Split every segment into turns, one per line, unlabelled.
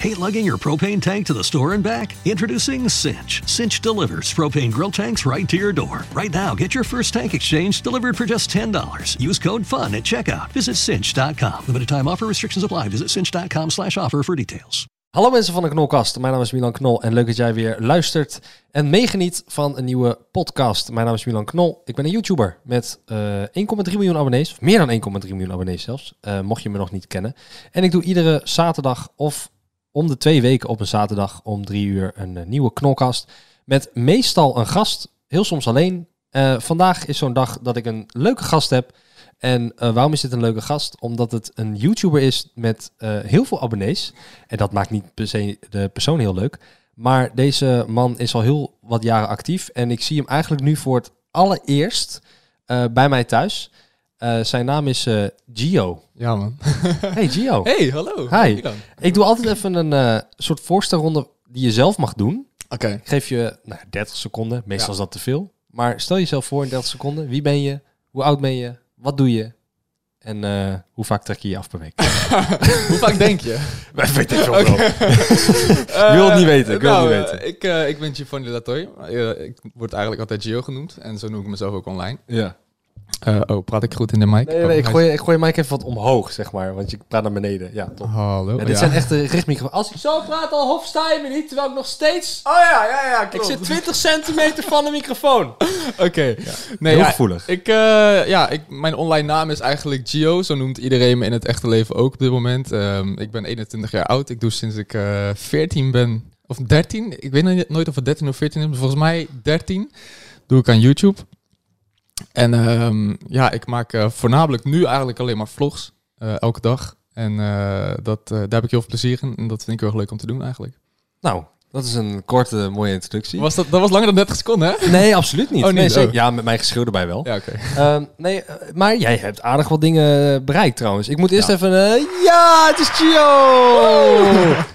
Hate lugging your propane tank to the store and back? Introducing Cinch. Cinch delivers propane grill tanks right to your door. Right now, get your first tank exchange delivered for just $10. Use code FUN at checkout. Visit cinch.com. Limited time offer restrictions apply. Visit cinch.com slash offer for details.
Hallo mensen van de Knolkast, mijn naam is Milan Knol en leuk dat jij weer luistert en meegeniet van een nieuwe podcast. Mijn naam is Milan Knol, ik ben een YouTuber met eh, 1,3 miljoen abonnees, of meer dan 1,3 miljoen abonnees zelfs, eh, mocht je me nog niet kennen. En ik doe iedere zaterdag of om de twee weken op een zaterdag om drie uur een eh, nieuwe Knolkast met meestal een gast, heel soms alleen. Eh, vandaag is zo'n dag dat ik een leuke gast heb. En eh, waarom is dit een leuke gast? Omdat het een YouTuber is met eh, heel veel abonnees. En dat maakt niet per se de persoon heel leuk. Maar deze man is al heel wat jaren actief. En ik zie hem eigenlijk nu voor het allereerst eh, bij mij thuis. Eh, zijn naam is eh, Gio.
Ja, man.
Hey Gio.
Hey, hallo.
Hi.
Milan.
Ik doe altijd even een eh, soort voorstelronde die je zelf mag doen.
Oké.
Ik geef je nou, 30 seconden. Meestal
Ja.
is dat te veel. Maar stel jezelf voor in 30 seconden. Wie ben je? Hoe oud ben je? Wat doe je? En eh, hoe vaak trek je je af per week?
Hoe vaak denk je?
Weet ik veel. Ik wil het niet weten, ik wil het
nou,
niet
eh,
weten.
Ik, eh, ik ben Giovanni Latoy. Eh, ik word eigenlijk altijd Gio genoemd. En zo noem ik mezelf ook online.
Ja.
Eh, oh, praat ik goed in de mic?
Nee, nee,
Oh,
ik
hij-
gooi, ik gooi je mic even wat omhoog, zeg maar. Want je praat naar beneden. Ja, top.
Hallo.
Ja, dit
ja.
zijn echte richtmicrofoons. Als ik zo praat, al hof sta je me niet. Terwijl ik nog steeds...
Oh ja, ja, ja,
Ik
klopt.
zit 20 centimeter van de microfoon.
Oké. Nee,
Heel
ja,
gevoelig.
Ik, eh, ja, ik, mijn online naam is eigenlijk Gio. Zo noemt iedereen me in het echte leven ook op dit moment. Ehm, ik ben 21 jaar oud. Ik doe sinds ik eh 14 ben. Of 13. Ik weet nog nooit of het 13 of 14 is. Maar volgens mij 13 doe ik aan YouTube. En ehm, ja, ik maak eh, voornamelijk nu eigenlijk alleen maar vlogs. eh, elke dag. En eh, dat, eh, daar heb ik heel veel plezier in. En dat vind ik heel erg leuk om te doen eigenlijk.
Nou, dat is een korte, mooie introductie.
Was dat, dat was langer dan 30 seconden, hè?
Nee, absoluut niet.
Oh, niet?
Nee, zeker.
Oh.
Ja, met mijn geschreeuw erbij wel.
Ja, oké.
Ehm, nee, eh, maar jij hebt aardig wat dingen eh, bereikt trouwens. Ik moet eerst
Ja.
even... eh, ja, het is Gio!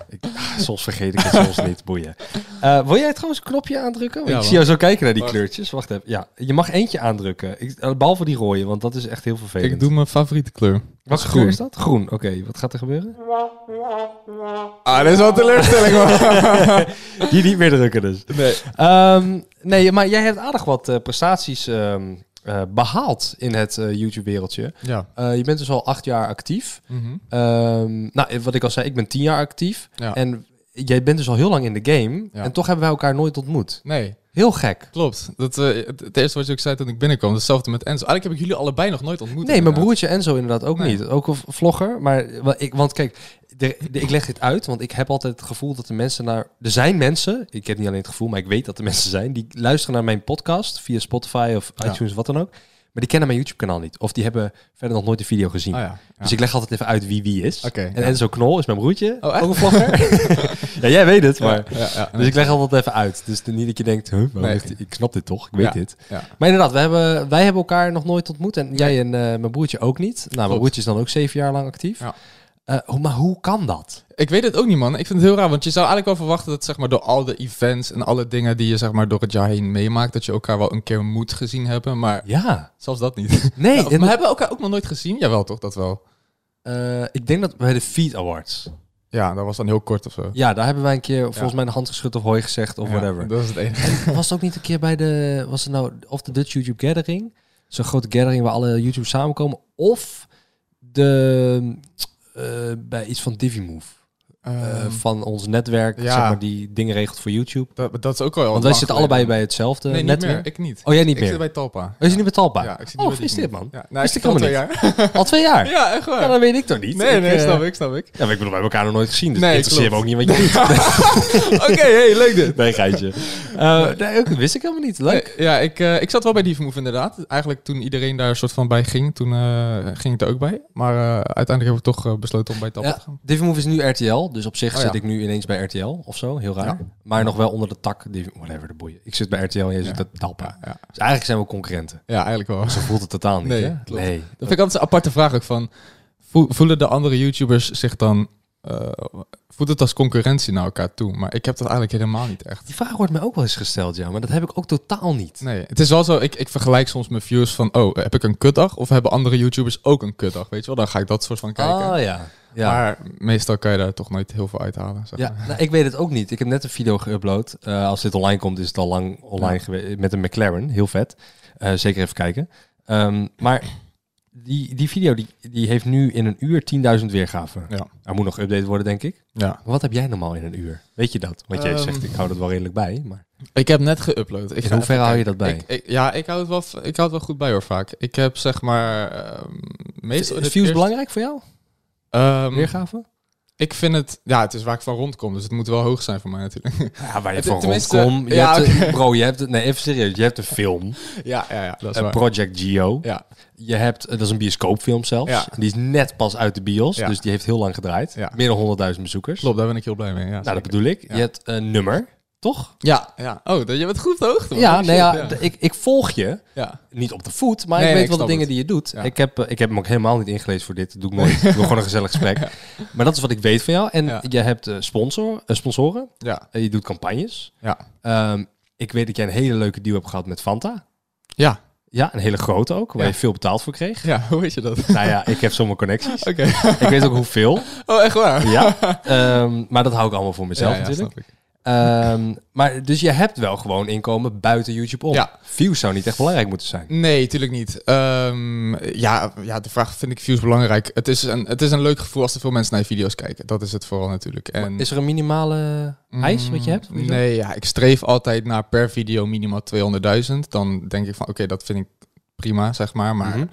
Ik- ah, soms vergeet ik het, soms niet. Boeien. Eh, wil jij trouwens een knopje aandrukken? Want
Ja,
ik zie
man.
jou zo kijken naar die
Wacht.
kleurtjes. Wacht even. Ja, je mag eentje aandrukken. Ik, eh, behalve die rode, want dat is echt heel vervelend.
Ik doe mijn favoriete kleur.
Wat
is
groen
groen.
is dat? Groen. Oké, wat gaat er gebeuren?
Ah, dat is wel teleurstelling, man.
Die niet meer drukken dus.
Nee.
Ehm, nee, maar jij hebt aardig wat eh, prestaties ehm, eh, behaald in het eh, YouTube-wereldje.
Ja.
Eh, je bent dus al acht jaar actief.
Mhm.
Ehm, nou, wat ik al zei, ik ben tien jaar actief.
Ja.
En jij bent dus al heel lang in de game.
Ja.
En toch hebben wij elkaar nooit ontmoet.
Nee,
Heel gek.
klopt. Dat, eh, het, het eerste wat je ook zei toen ik binnenkwam, hetzelfde met Enzo. Eigenlijk heb ik jullie allebei nog nooit ontmoet.
Nee, mijn
inderdaad. Oh
broertje Enzo inderdaad ook
Nee.
niet. Ook een vlogger. Maar wa- ik, want kijk, de- de- ik leg dit uit, want ik heb altijd het gevoel dat de mensen naar... Er zijn mensen, ik heb niet alleen het gevoel, maar ik weet dat er mensen zijn... die luisteren naar mijn podcast via Spotify of
Ja.
iTunes, wat dan ook. Maar die kennen mijn YouTube-kanaal niet. Of die hebben verder nog nooit de video gezien.
Ah, ja. ja.
Dus ik leg altijd even uit wie wie is.
Oké,
en
ja.
Enzo Knol is mijn broertje,
Oh, echt?
ook een vlogger. ja, jij weet het, maar...
Ja, ja, ja.
Dus ik leg altijd even uit. Dus niet dat je denkt, huh, waarom
Nee.
heeft die- ik snap dit toch, ik weet
Ja.
dit.
Ja.
Maar inderdaad, wij hebben, wij hebben elkaar nog nooit ontmoet. En jij en eh, mijn broertje ook niet. Nou, mijn
Klopt.
broertje is dan ook zeven jaar lang actief.
Ja.
Eh, hoe- maar hoe kan dat?
Ik weet het ook niet, man. Ik vind het heel raar, want je zou eigenlijk wel verwachten dat zeg maar, door al de events en alle dingen die je zeg maar, door het jaar heen meemaakt, dat je elkaar wel een keer moet gezien hebben, maar
Ja.
zelfs dat niet.
Nee,
Ja, of-
en-
maar hebben we elkaar ook nog nooit gezien? Jawel, toch? Dat wel.
eh, ik denk dat bij de Feed Awards.
Ja, dat was dan heel kort of zo.
Ja, daar hebben wij een keer volgens mij de hand geschud of hooi gezegd of
Ja,
whatever.
Dat is het enige.
Was het ook niet een keer bij de, was het nou, of de Dutch YouTube Gathering? Zo'n grote gathering waar alle YouTubers samenkomen. Of de, eh, bij iets van Divimove. eh,
Ehm,
van ons netwerk,
ja. Oh,
zeg maar, die dingen regelt voor YouTube.
dat, dat is ook wel.
Want wij zitten allebei bij hetzelfde
nee, niet
netwerk.
meer. Ik niet.
Oh, jij niet
ik
meer?
zit bij Talpa.
Oh, is het niet met Talpa?
Ja, ik zit
oh,
niet bij
gefeliciteerd,
die-
man.
Ja, nou, ik
Wist ik
zit al
helemaal
twee jaar.
Al twee jaar? Ja,
Ja, echt waar.
dan weet ik toch niet?
Nee, nee,
eh,
snap ik, snap ik.
Ja, maar ik bedoel, wij hebben elkaar nog nooit gezien, dus
Nee,
nee, interesseer me ook
klopt.
niet wat je doet.
Oké, hey, leuk dit.
Nee, geitje. Eh, nee, ook, dat wist ik helemaal niet. Leuk.
Ja, ik, eh, ik zat wel bij Diefmove inderdaad. Eigenlijk toen iedereen daar soort van bij ging, toen eh, ging ik daar ook bij. Maar eh, uiteindelijk hebben we toch eh, besloten om bij Talpa
Ja,
te gaan.
Divimove is nu RTL, dus op zich
Oh,
zit
ja.
ik nu ineens bij RTL of zo, heel raar.
Ja.
Maar nog wel onder de tak, Divi- whatever, de boeien. Ik zit bij RTL en jij zit bij Talpa.
Ja,
Dus eigenlijk zijn we concurrenten.
ja, eigenlijk wel.
Zo voelt het totaal niet,
Nee,
hè?
klopt.
Nee.
Dat vind ik altijd een aparte vraag ook van, vo- voelen de andere YouTubers zich dan, eh, voelt het als concurrentie naar elkaar toe? Maar ik heb dat eigenlijk helemaal niet echt.
Die vraag wordt mij ook wel eens gesteld, ja, maar dat heb ik ook totaal niet.
Nee, het is wel zo, ik, ik vergelijk soms mijn views van, oh, heb ik een kutdag? Of hebben andere YouTubers ook een kutdag? Weet je wel, dan ga ik dat soort van kijken.
Ah ja. Ja.
Maar meestal kan je daar toch nooit heel veel uithalen. Zeg
Ja,
maar.
nou, ik weet het ook niet. Ik heb net een video geüpload. Eh, als dit online komt, is het al lang online geweest. Met een McLaren, heel vet. Eh, zeker even kijken. Ehm, maar die, die video die, die heeft nu in een uur 10.000 weergaven.
Ja.
Er moet nog geüpdate worden, denk ik.
ja.
Maar wat heb jij normaal in een uur? Weet je dat? Want jij
Ehm.
zegt, ik hou dat wel redelijk bij. Maar
Ik heb net geüpload.
in
Ik ga
hoeverre hou je dat
even
bij?
kijken. Ik, ik- ja, ik hou, het wel, v- ik hou het wel goed bij hoor vaak. Ik heb zeg maar... ehm,
is
meestal in
views
het eerst-
belangrijk voor jou?
Ehm,
Weergaven?
ik vind het... Ja, het is waar ik van rondkom. Dus het moet wel hoog zijn voor mij natuurlijk.
Ja, waar je
het-
van
tenminste,
rondkom. Je
ja,
hebt een- Bro, je hebt... het- Nee, even serieus. Je hebt een film.
ja, ja, ja, dat is
eh,
waar.
Project Geo.
ja,
Je hebt, eh, dat is een bioscoopfilm zelfs.
Ja.
Die is net pas uit de bios,
Ja.
dus die heeft heel lang gedraaid.
Ja.
Meer dan 100.000 bezoekers.
klopt. Daar ben ik heel blij mee. Ja,
Nou,
zeker.
dat bedoel ik.
Ja.
Je hebt een nummer, toch?
ja, ja. Oh, dat- je bent goed op de hoogte. man.
ja,
Holy
nee,
shit,
ja, d- Ik, ik volg je.
ja.
Niet op de voet, maar
Nee,
ik
nee,
weet wel
ik
de
snap
dingen
het.
die je doet.
Ja.
Ik, heb, eh, ik heb hem ook helemaal niet ingelezen voor dit. Dat doe ik nooit. ik doe gewoon een gezellig gesprek. Maar dat is wat ik weet van jou. En
Ja.
je hebt eh, sponsor, eh, sponsoren.
Ja,
Eh, je doet campagnes.
ja,
Ehm, ik weet dat jij een hele leuke deal hebt gehad met Fanta.
ja.
Ja, een hele grote ook, waar
Ja.
je veel betaald voor kreeg.
Ja, hoe weet je dat?
Nou ja, ik heb zomaar connecties.
Oké.
ik weet ook hoeveel.
Oh, echt waar?
Ja, ehm, maar dat hou ik allemaal voor mezelf
Ja, ja,
natuurlijk.
snap ik.
Ehm, maar dus je hebt wel gewoon inkomen buiten YouTube om.
Ja.
Views zou niet echt belangrijk moeten zijn.
Nee, tuurlijk niet. Ehm, ja, ja, de vraag vind ik views belangrijk. Het is, een, het is een leuk gevoel als er veel mensen naar je video's kijken. Dat is het vooral natuurlijk. En, mm,
Is er een minimale eis wat je hebt? Weet je dat?
Nee, ja, ik streef altijd naar per video minimaal 200.000. Dan denk ik van, oké, dat vind ik prima, zeg maar. Maar
Mhm.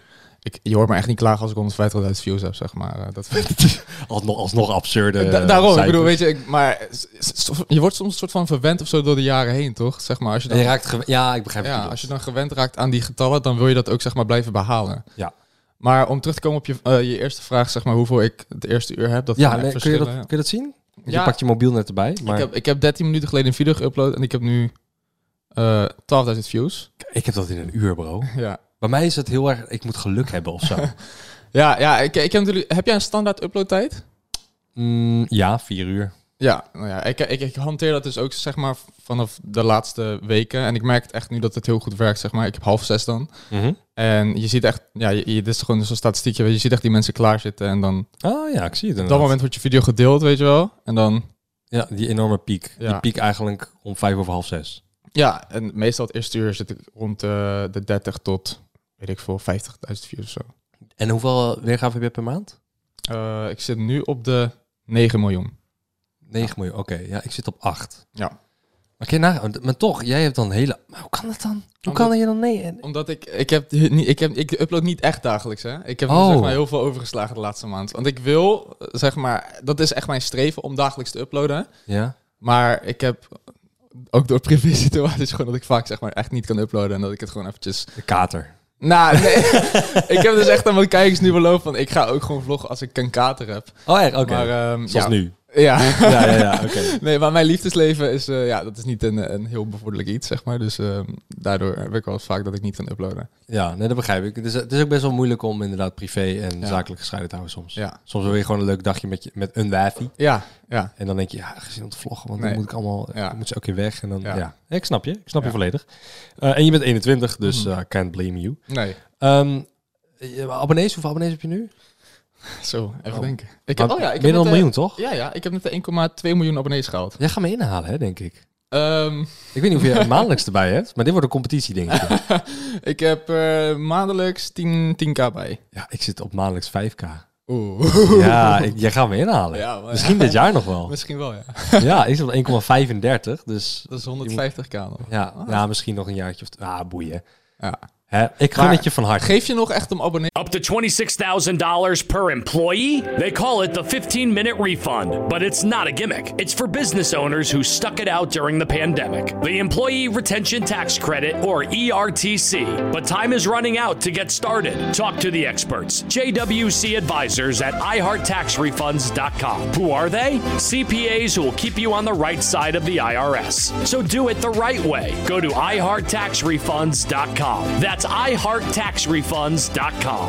ik, je hoort me echt niet klagen als ik 150.000 views heb, zeg maar. Eh, Dat vind ik...
Alsnog, alsnog absurde.
Da- daarom, ik
cijfers.
bedoel, weet je, ik, maar s- s- je wordt soms een soort van verwend of zo door de jaren heen, toch? Zeg maar, als je dan
Je raakt gew- ja, ik begrijp
Ja,
het.
als je dan gewend raakt aan die getallen, dan wil je dat ook zeg maar blijven behalen.
Ja.
Maar om terug te komen op je, eh, je eerste vraag, zeg maar hoeveel ik het eerste uur heb, dat
ja
kan echt
nee, kun, je dat,
verschillen,
kun je dat zien? Want Je
Ja.
pakt je mobiel net erbij.
ja.
Maar
Ik, heb, ik heb 13 minuten geleden een video geüpload en ik heb nu eh 12.000 views.
dat in een uur, bro.
Ja,
Bij mij is het heel erg, ik moet geluk hebben of zo.
ja, ja ik, ik heb natuurlijk... Heb jij een standaard uploadtijd?
Mm, ja, vier uur.
Ja, nou ja ik, ik, ik hanteer dat dus ook zeg maar vanaf de laatste weken. En ik merk het echt nu dat het heel goed werkt, zeg maar. Ik heb half zes dan. En je ziet echt... Ja, je, je- dit is gewoon zo'n statistiekje. weet Je Je ziet echt die mensen klaarzitten en dan...
Oh ja, ik zie het
Op dat
inderdaad.
moment wordt je video gedeeld, weet je wel. En dan
Ja, die enorme piek.
Ja.
Die piek eigenlijk om vijf over half zes.
Ja, en meestal het eerste uur zit ik rond eh, de 30 tot, weet ik veel, 50.000 views of zo.
En hoeveel weergave heb je per maand?
Eh, ik zit nu op de 9 miljoen.
9 miljoen, oké. Ja, ik zit op 8.
Ja.
Maar, kun je nagaan, maar toch, jij hebt dan hele... Maar hoe kan dat dan? Hoe
Omdat-
kan je dan nee?
Omdat ik, ik heb, niet, ik heb, ik upload niet echt dagelijks, hè. Ik heb nu,
Oh.
zeg maar heel veel overgeslagen de laatste maand. Want ik wil, eh, zeg maar, dat is echt mijn streven om dagelijks te uploaden.
Ja.
Maar ik heb ook door privé situaties gewoon dat ik vaak, zeg maar, echt niet kan uploaden. En dat ik het gewoon eventjes
De kater.
Nou, nee. ik heb dus echt aan mijn kijkers nu beloofd van... ik ga ook gewoon vloggen als ik een kater heb.
Oh, echt? Oké.
Maar, ehm,
Zoals
ja.
nu.
Ja.
Ja, ja, ja, oké.
Nee, maar mijn liefdesleven is... eh, ja, dat is niet een, een heel bevorderlijk iets, zeg maar. Dus ehm, daardoor heb ik wel eens vaak dat ik niet kan uploaden.
Ja, nee, dat begrijp ik. Het is, het is ook best wel moeilijk om inderdaad privé en
Ja.
zakelijk gescheiden te houden soms.
Ja.
Soms wil je gewoon een leuk dagje met, je, met een wijfie.
Ja, ja.
En dan denk je, ja, gezien om te vloggen, want
Nee.
dan moet ik allemaal...
Ja.
dan moet ze ook weer weg en dan... Ja.
Ja.
Ik snap je. Ik snap je
Ja.
volledig. Eh, en je bent 21, dus
Mhm.
eh, I can't blame you.
Nee.
Ehm, je- abonnees, hoeveel abonnees heb je nu?
Zo, even
Oh.
denken. Ik
Maar
heb, oh ja, ik
meer dan een
heb net,
miljoen, toch?
eh, Ja, ja. Ik heb net de 1,2 miljoen abonnees gehaald.
Jij gaat me inhalen, hè, denk ik.
Ehm,
Ik weet niet of je het maandelijks erbij hebt, maar dit wordt een competitie, denk ik.
ik heb eh, maandelijks 10, 10k bij.
Ja, ik zit op maandelijks 5k.
Oeh.
Ja, ik- jij gaat me inhalen.
Ja, maar ja.
Misschien dit jaar nog wel.
Misschien wel, ja.
Ja, ik zit op 1,35, dus
Dat is 150k nog.
ja, ja, misschien nog een jaartje of... t- Ah, boeien.
Ah. Ja.
Hè, ik gun
Maar-
het je van harte.
Geef je nog echt om abonnee?
Up to $26,000 per employee? They call it the 15 minute refund, but it's not a gimmick. It's for business owners who stuck it out during the pandemic. The Employee Retention Tax Credit, or E ERTC. But time is running out to get started. Talk to the experts, JWC advisors at iHeartTaxRefunds.com. Who are they? CPAs who will keep you on the right side of the IRS. So do it the right way. Go to iHeartTaxRefunds.com. That's iHeartTaxRefunds.com.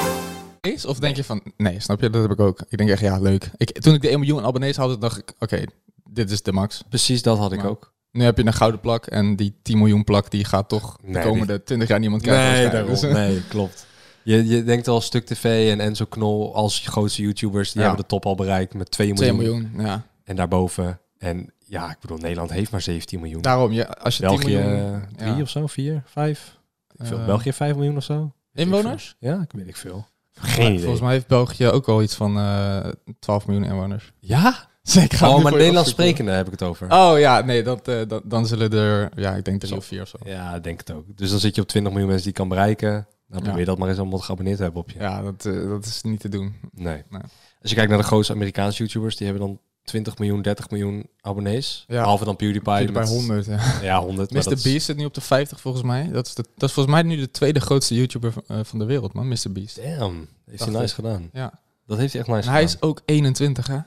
is? Of denk je van, nee, snap je, dat heb ik ook. Ik denk echt, ja, leuk. Ik, toen ik de 1 miljoen abonnees had, dacht ik, oké, dit is de max.
Precies dat had ik
Maar-
ook.
Nu heb je een gouden plak en die 10 miljoen plak, die gaat toch
Nee,
de
die-
komende 20 jaar niemand kijken. waarschijnlijk.
daarom.
Dus, eh,
nee, klopt. Je, je denkt al Stuk TV en Enzo Knol als grootste YouTubers. Die
Ja.
hebben de top al bereikt met 2 miljoen.
2 miljoen, ja.
En daarboven. En ja, ik bedoel, Nederland heeft maar 17 miljoen.
Daarom, ja, als je 10
België
miljoen...
3
ja.
of zo, 4, 5. Ik veel.
Eh,
België 5 miljoen of zo.
Inwoners?
Ja, ik weet ik veel.
Ja,
Geen
Volgens mij heeft België ook al iets van eh 12 miljoen inwoners.
Ja?
Zeker.
oh, maar Nederlands sprekende heb ik het over.
Oh ja, nee, dat, eh, dan- dan zullen er, ja, ik denk drie of vier of zo.
Ja, ik denk het ook. Dus dan zit je op 20 miljoen mensen die je kan bereiken. Nou, probeer
Ja.
dat maar eens allemaal geabonneerd te hebben op je.
Ja, dat, eh, dat is niet te doen.
Nee.
Nee.
Als je kijkt naar de grootste Amerikaanse YouTubers, die hebben dan 20 miljoen, 30 miljoen abonnees.
Ja.
Behalve dan PewDiePie.
Bij, bij
met-
100, ja.
Ja, 100. maar
Mr.
dat is-
Beast zit nu op de 50 volgens mij. Dat is, de, dat is volgens mij nu de tweede grootste YouTuber van, eh, van de wereld, man. Mr. Beast.
Damn, heeft hij
Dacht
nice
ik.
gedaan.
Ja.
Dat heeft hij echt
En
nice
hij
gedaan.
is ook 21, hè?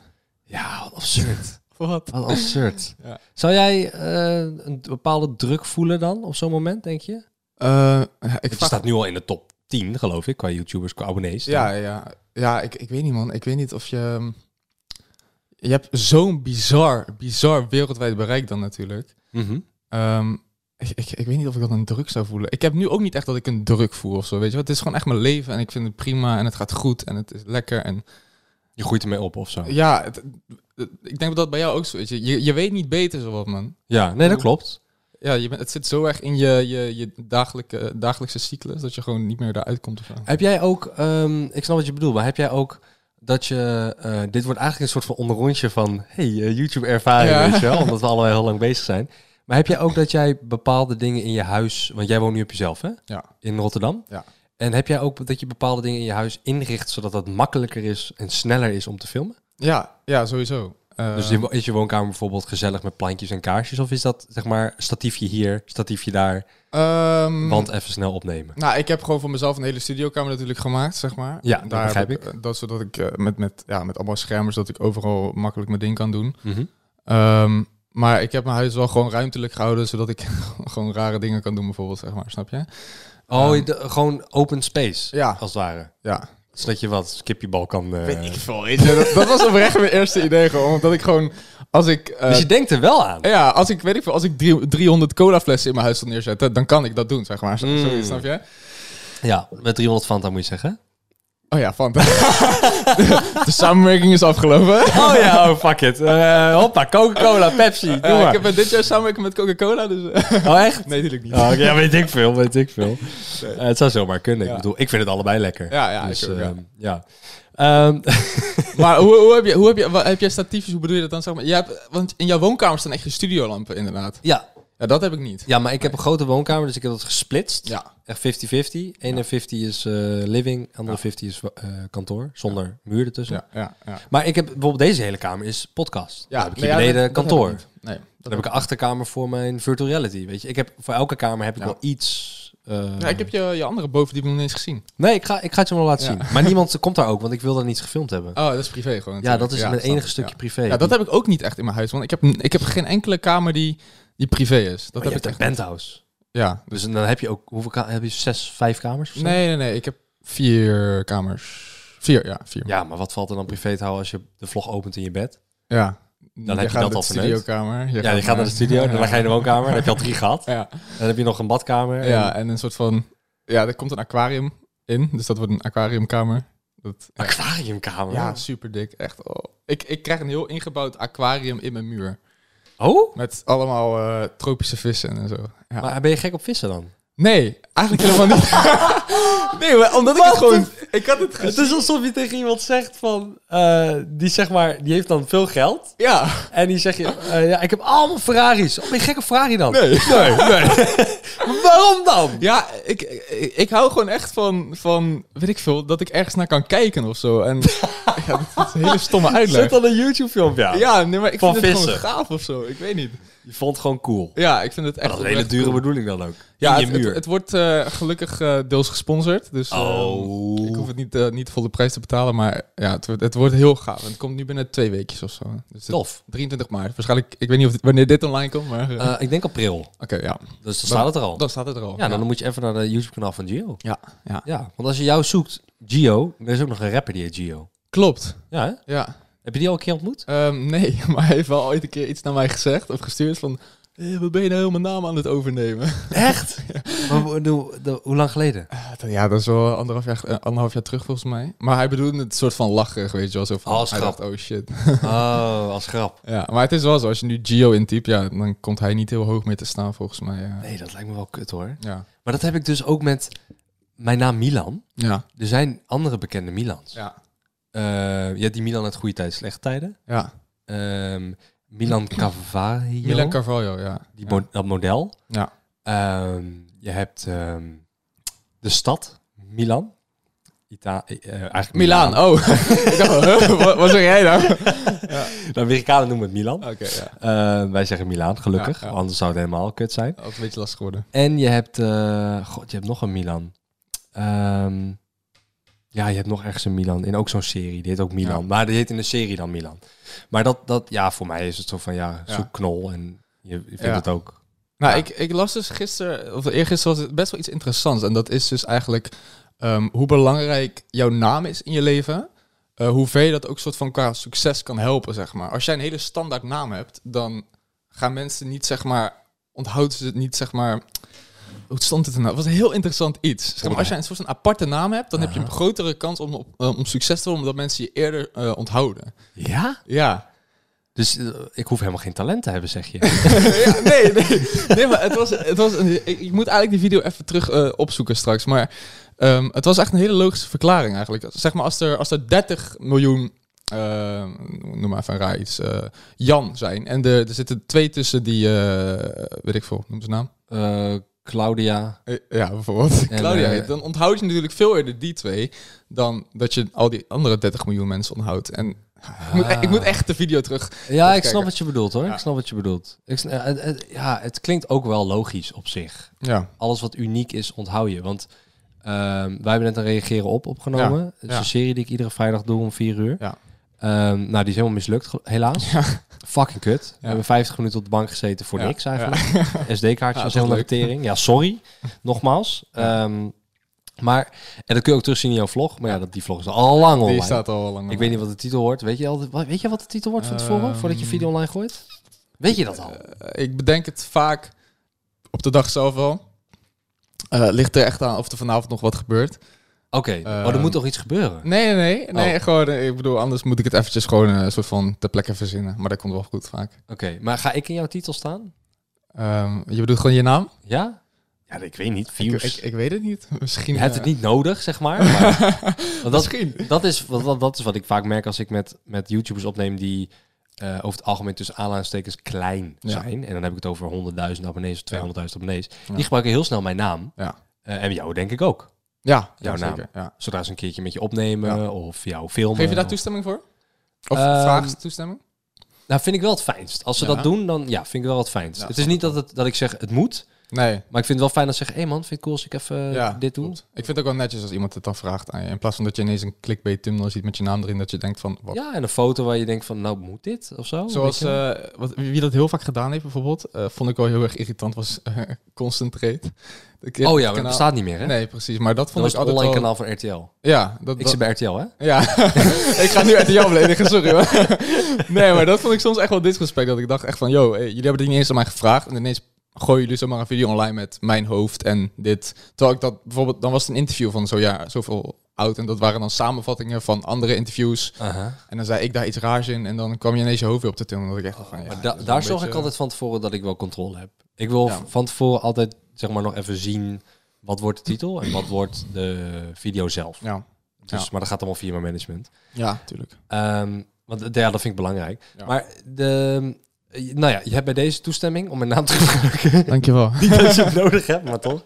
Ja, wat absurd.
Wat?
wat absurd.
Ja.
Zou jij eh, een bepaalde druk voelen dan op zo'n moment, denk je?
Eh, ik
Het
vraag-
staat nu al in de top 10, geloof ik, qua YouTubers, qua abonnees.
Ja, ja. ja ik, ik weet niet, man. Ik weet niet of je... ehm, Je hebt zo'n bizar, bizar wereldwijd bereik dan natuurlijk.
Mhm.
Ehm, ik, ik, ik weet niet of ik dat een druk zou voelen. Ik heb nu ook niet echt dat ik een druk voel of zo. Weet je, wat? het is gewoon echt mijn leven en ik vind het prima en het gaat goed en het is lekker. En
Je groeit ermee op of zo.
ja, het- het- ik denk dat dat bij jou ook zo is. Je, je weet niet beter, zo wat man.
Ja, nee, dat klopt.
Ja, je bent, het zit zo erg in je, je, je dagelijke, dagelijkse cyclus dat je gewoon niet meer daaruit komt. Of zo.
Heb jij ook, ehm, ik snap wat je bedoelt, maar heb jij ook dat je, eh, dit wordt eigenlijk een soort van onderrondje van, hey, eh, YouTube ervaring,
Ja.
weet je wel, omdat we allebei heel lang bezig zijn. Maar heb jij ook dat jij bepaalde dingen in je huis, want jij woont nu op jezelf hè,
Ja,
in Rotterdam.
Ja.
En heb jij ook dat je bepaalde dingen in je huis inricht, zodat dat makkelijker is en sneller is om te filmen?
ja, ja sowieso. Ehm,
dus je- is je woonkamer bijvoorbeeld gezellig met plantjes en kaarsjes, of is dat zeg maar statiefje hier, statiefje daar,
ehm,
want even snel opnemen?
Nou, ik heb gewoon voor mezelf een hele studiokamer natuurlijk gemaakt, zeg maar.
Ja, dat begrijp
heb eh, Dat zodat ik eh, met, met, ja, met allemaal schermers dat ik overal makkelijk mijn ding kan doen.
Mhm.
Ehm, maar ik heb mijn huis wel gewoon ruimtelijk gehouden, zodat ik gewoon rare dingen kan doen, bijvoorbeeld, zeg maar. Snap je?
Oh, de- gewoon open space,
Ja.
als het ware.
Ja.
Zodat je wat skipjebal kan... eh,
dat, dat was oprecht mijn eerste idee, gewoon. Omdat ik gewoon, als ik... eh,
Dus je denkt er wel aan.
ja, als ik, weet ik veel, als ik drie- 300 colaflessen in mijn huis wil neerzetten, dan kan ik dat doen, zeg maar.
Mm.
Zo- zoiets, snap je?
Ja, met 300 Fanta moet je zeggen.
Oh ja, van. de samenwerking is afgelopen.
Oh ja, oh fuck it. Eh, hoppa, Coca-Cola, Pepsi, doe
Ja,
maar.
ik heb eh, dit jaar samenwerking met Coca-Cola, dus... eh,
Oh echt?
nee, natuurlijk niet.
Oh, oké, ja, weet ik veel, weet ik veel. Eh, het zou zomaar kunnen. Ik bedoel, ik vind het allebei lekker.
Ja, ja,
Dus,
ik ook, ja.
ehm, ja. Ehm,
Maar hoe, hoe heb je, hoe heb je, wat, heb jij statiefjes, hoe bedoel je dat dan? Zeg maar? Jij hebt, want in jouw woonkamer staan echt je studiolampen, inderdaad.
ja.
Ja, dat heb ik niet.
ja, maar ik heb een grote woonkamer, dus ik heb dat gesplitst.
Ja.
Echt 50-50. 51 is eh, living, andere 50 is eh, kantoor, zonder muur ertussen.
Ja, ja, ja.
Maar ik heb bijvoorbeeld deze hele kamer is podcast. Ja, heb ik hier
nee, ja,
beneden
dat- dat
kantoor.
heb ik niet. nee, dat
Dan heb ik een achterkamer voor mijn virtual reality. Weet je, ik heb voor elke kamer heb ik
Ja.
wel iets. eh,
Ja, ik heb je, je andere bovenverdieping nog niet eens gezien.
Nee, ik ga, ik ga het je wel laten
Ja.
zien. Maar niemand komt daar ook, want ik wil dat niet gefilmd hebben.
Oh, dat is privé gewoon.
ja, dat is
natuurlijk.
mijn
snap
enige
ik,
stukje
ja.
privé.
Ja, dat heb ik ook niet echt in mijn huis, want ik heb, ik heb geen enkele kamer die, die privé is. Dat
Maar je
heb ik
hebt
echt.
een penthouse.
Ja.
Dus dan heb je ook hoeveel ka- heb je zes, vijf kamers? of zo?
Nee, nee, nee. Ik heb vier kamers. Vier, ja, vier.
Ja, maar wat valt er dan privé te houden als je de vlog opent in je bed?
Ja.
heb je
gaat
dat
naar
al
de
verneukt.
studiokamer.
Ja, je gaat naar de studio, dan ga je in de woonkamer, dan heb je al drie gehad.
Ja.
Dan heb je nog een badkamer. en-
Ja, en een soort van... Ja, er komt een aquarium in. Dus dat wordt een aquariumkamer. Dat,
Aquariumkamer.
ja, super dik. Echt. oh. Ik, ik krijg een heel ingebouwd aquarium in mijn muur.
Oh?
Met allemaal eh, tropische vissen en zo. Ja.
Maar ben je gek op vissen dan?
Nee, eigenlijk helemaal niet. nee, maar omdat ik het gewoon... Ik had het
Het
gezien.
is alsof je tegen iemand zegt van, eh, die zeg maar, die heeft dan veel geld.
Ja.
En die zeg je, eh, ja, ik heb allemaal Ferraris. Oh, ben je gek op Ferrari dan?
Nee, nee, nee.
Waarom dan?
Ja, ik, ik, ik hou gewoon echt van, van, weet ik veel, dat ik ergens naar kan kijken of zo. En ja, dat is een hele stomme
Zet
uitleg.
dan een YouTube-filmpje aan.
Ja, nee, maar ik
Van
vind het gewoon
vissen.
gaaf of zo. Ik weet niet.
Je vond het gewoon cool.
Ja, ik vind het echt
dat is een hele
oprecht
dure
cool.
bedoeling dan ook.
Ja,
In je
het, het-
muur.
het wordt eh, gelukkig eh, deels gesponsord. Dus eh,
Oh.
ik hoef het niet, eh, niet vol de prijs te betalen. Maar ja, het, wordt- het wordt heel gaaf. En het komt nu binnen twee weekjes of zo. Dus het-
Tof.
23 maart. Waarschijnlijk, ik weet niet of dit- wanneer dit online komt. Maar eh,
Eh, ik denk april.
oké, ja.
Dus dan staat het er al.
Dan staat het er al.
ja, dan moet je even naar de YouTube-kanaal van Gio.
ja, ja.
Ja, want als je jou zoekt, Gio, er is ook nog een rapper die heet Gio.
Klopt.
Ja, hè?
Ja.
Heb je die al een keer ontmoet?
Ehm, nee, maar hij heeft wel ooit een keer iets naar mij gezegd of gestuurd van... Eh, wat ben je nou helemaal naam aan het overnemen?
Echt? Maar hoe- hoe- hoe- hoe lang geleden?
Ja, dat is wel anderhalf jaar, eh, anderhalf jaar terug volgens mij. Maar hij bedoelde het soort van lacherig, weet je wel. Zo van,
Als
hij
grap.
dacht, oh shit.
Oh, als grap.
ja, maar het is wel zo, als je nu Gio intypt, ja, dan komt hij niet heel hoog meer te staan volgens mij. ja.
Nee, dat lijkt me wel kut hoor.
Ja.
Maar dat heb ik dus ook met mijn naam Milan.
Ja.
Er zijn andere bekende Milans.
Ja.
Eh, je hebt die Milan uit goede tijden, slechte tijden.
ja.
Ehm, Milan Cavaglio.
Milan Carvalho, ja.
die
ja.
mo- dat model.
Ja.
Ehm, je hebt ehm, de stad, Milan. Ita eh, eigenlijk
Milaan, oh. Ik dacht, huh? wat, wat zeg jij nou? Oké,
De Amerikanen noemen het Milan.
ja.
Eh, wij zeggen Milaan, gelukkig.
Ja, ja.
want Anders zou het helemaal kut zijn.
Altijd een beetje lastig geworden.
En je hebt... eh, God, je hebt nog een Milan. Ehm, ja, je hebt nog ergens een Milan. In ook zo'n serie. Die heet ook Milan.
Ja.
Maar die heet in de serie dan Milan. Maar dat, dat, ja, voor mij is het zo van, ja,
Ja.
zoek knol. En je, je vindt
Ja.
het ook...
Nou, ik, ik las dus gisteren, of eergisteren was het best wel iets interessants. En dat is dus eigenlijk ehm, hoe belangrijk jouw naam is in je leven. eh hoeveel je dat ook soort van qua succes kan helpen, zeg maar. Als jij een hele standaard naam hebt, dan gaan mensen niet, zeg maar, onthouden ze het niet, zeg maar... Hoe stond het er nou? Het was een heel interessant iets. Zeg maar, als jij een soort van aparte naam hebt, dan heb je een grotere kans om, op- eh, om succes te worden, omdat mensen je eerder eh, onthouden.
Ja?
Ja.
Dus eh, ik hoef helemaal geen talent te hebben, zeg je.
Ja, nee, nee. Nee, maar het was... Het was een, ik, ik moet eigenlijk die video even terug eh, opzoeken straks. Maar ehm, het was echt een hele logische verklaring eigenlijk. Zeg maar, als er, als er 30 miljoen... eh, noem maar even een raar iets. eh, Jan zijn. En er, er zitten twee tussen die... eh, weet ik veel, noem ze naam.
Eh, Claudia.
Eh, ja, bijvoorbeeld.
En,
Claudia
eh,
heet. Dan onthoud je natuurlijk veel eerder die twee... dan dat je al die andere 30 miljoen mensen onthoudt. En... Ik moet, ik moet echt de video terug.
Ja, ik
kijken.
snap wat je bedoelt hoor. Ik snap wat je bedoelt. Ik, sn- eh, het- het- ja, het klinkt ook wel logisch op zich.
Ja,
Alles wat uniek is, onthoud je. Want ehm, wij hebben net een reageren op opgenomen.
Ja,
Het is
ja.
een serie die ik iedere vrijdag doe om 4 uur.
Ja.
Ehm, nou, die is helemaal mislukt, gel- helaas. Fucking kut. We hebben 50 minuten op de bank gezeten voor
Ja,
niks eigenlijk. SD-kaartje
Ja,
was
dat is
helemaal
leuk.
tering. Ja, sorry. Nogmaals. Ehm, maar, en dat kun je ook terugzien in jouw vlog. Maar ja, dat, die vlog is al lang online.
die staat al lang.
Ik weet niet wat de titel wordt. Weet je, al de- wa- weet je wat de titel wordt van tevoren?
Ehm, eh,
voordat je video online gooit? Weet je dat al?
ik bedenk het vaak op de dag zelf wel. Eh, ligt er echt aan of er vanavond nog wat gebeurt.
Oké, maar er
ehm,
moet toch iets gebeuren?
Nee, nee, nee. nee
Oh.
gewoon, eh, ik bedoel, anders moet ik het eventjes gewoon een soort van ter plekke verzinnen. Maar dat komt wel goed vaak.
Oké, maar ga ik in jouw titel staan?
Ehm, je bedoelt gewoon je naam?
Ja? Ja, ik weet niet.
Ik, ik, ik weet het niet. Misschien.
je hebt
eh,
het niet nodig, zeg maar. maar want dat,
Misschien.
dat, is, wat- wat- dat is wat ik vaak merk als ik met, met YouTubers opneem die eh, over het algemeen tussen aanhalingstekens klein
Ja.
zijn. En dan heb ik het over 100.000 abonnees of 200.000 abonnees. Die gebruiken heel snel mijn naam.
Ja.
Eh, en jou denk ik ook.
Ja,
Jouw
ja,
naam.
zeker, Ja.
Zodra ze een keertje met je opnemen
Ja.
of jou filmen.
Geef je daar
of-
toestemming voor? Of
eh, Ehm,
vraag ze toestemming?
Nou, vind ik wel het fijnst. Als ze
Ja.
dat doen, dan ja, vind ik wel het fijnst.
Ja,
het is niet dat, het, dat ik zeg het moet,
Nee.
maar ik vind het wel fijn als ze zeggen: hé hey man, vind je het cool als ik even eh,
Ja,
dit doe?
klopt. Ik vind het ook wel netjes als iemand het dan vraagt aan je. In plaats van dat je ineens een clickbait thumbnail ziet met je naam erin, dat je denkt van, wat
Ja, en een foto waar je denkt: van, nou moet dit of zo?
Zoals
weet je?
eh, wat, wie dat heel vaak gedaan heeft bijvoorbeeld, eh, vond ik wel heel erg irritant, was eh Concentrate. Ik-
oh ja,
eh, het
maar dat
kanaal-
bestaat niet meer, hè?
Nee, precies. Maar dat
dat
vond
was
ik
het
altijd
online
wel-
kanaal van RTL.
Ja, dat,
Ik zit bij RTL, hè?
ja. ik ga nu uit jou beledigen, sorry hoor. nee, maar dat vond ik soms echt wel disrespect. Dat ik dacht echt van, yo, eh, jullie hebben het niet eens aan mij gevraagd. En ineens gooien jullie zomaar een video online met mijn hoofd en dit. Terwijl ik dat bijvoorbeeld, dan was het een interview van zo, ja, zoveel oud. En dat waren dan samenvattingen van andere interviews.
Ah.
En dan zei ik daar iets raars in. En dan kwam je ineens je hoofd weer op de tunnel. Dat ik echt dacht van, ja,
Maar
dit
da-
is wel
daar
een
zorg ik
beetje-
altijd van tevoren dat ik wel controle heb. Ik wil
Ja.
van tevoren altijd zeg maar nog even zien wat wordt de titel en wat wordt de video zelf.
Ja,
Dus,
ja.
Maar dat gaat allemaal via mijn management.
ja, tuurlijk.
Ehm, want eh, ja, dat vind ik belangrijk.
Ja.
Maar de, eh, nou ja, je hebt bij deze toestemming om mijn naam te gebruiken.
Dankjewel.
Niet dat je het nodig hebt, maar toch.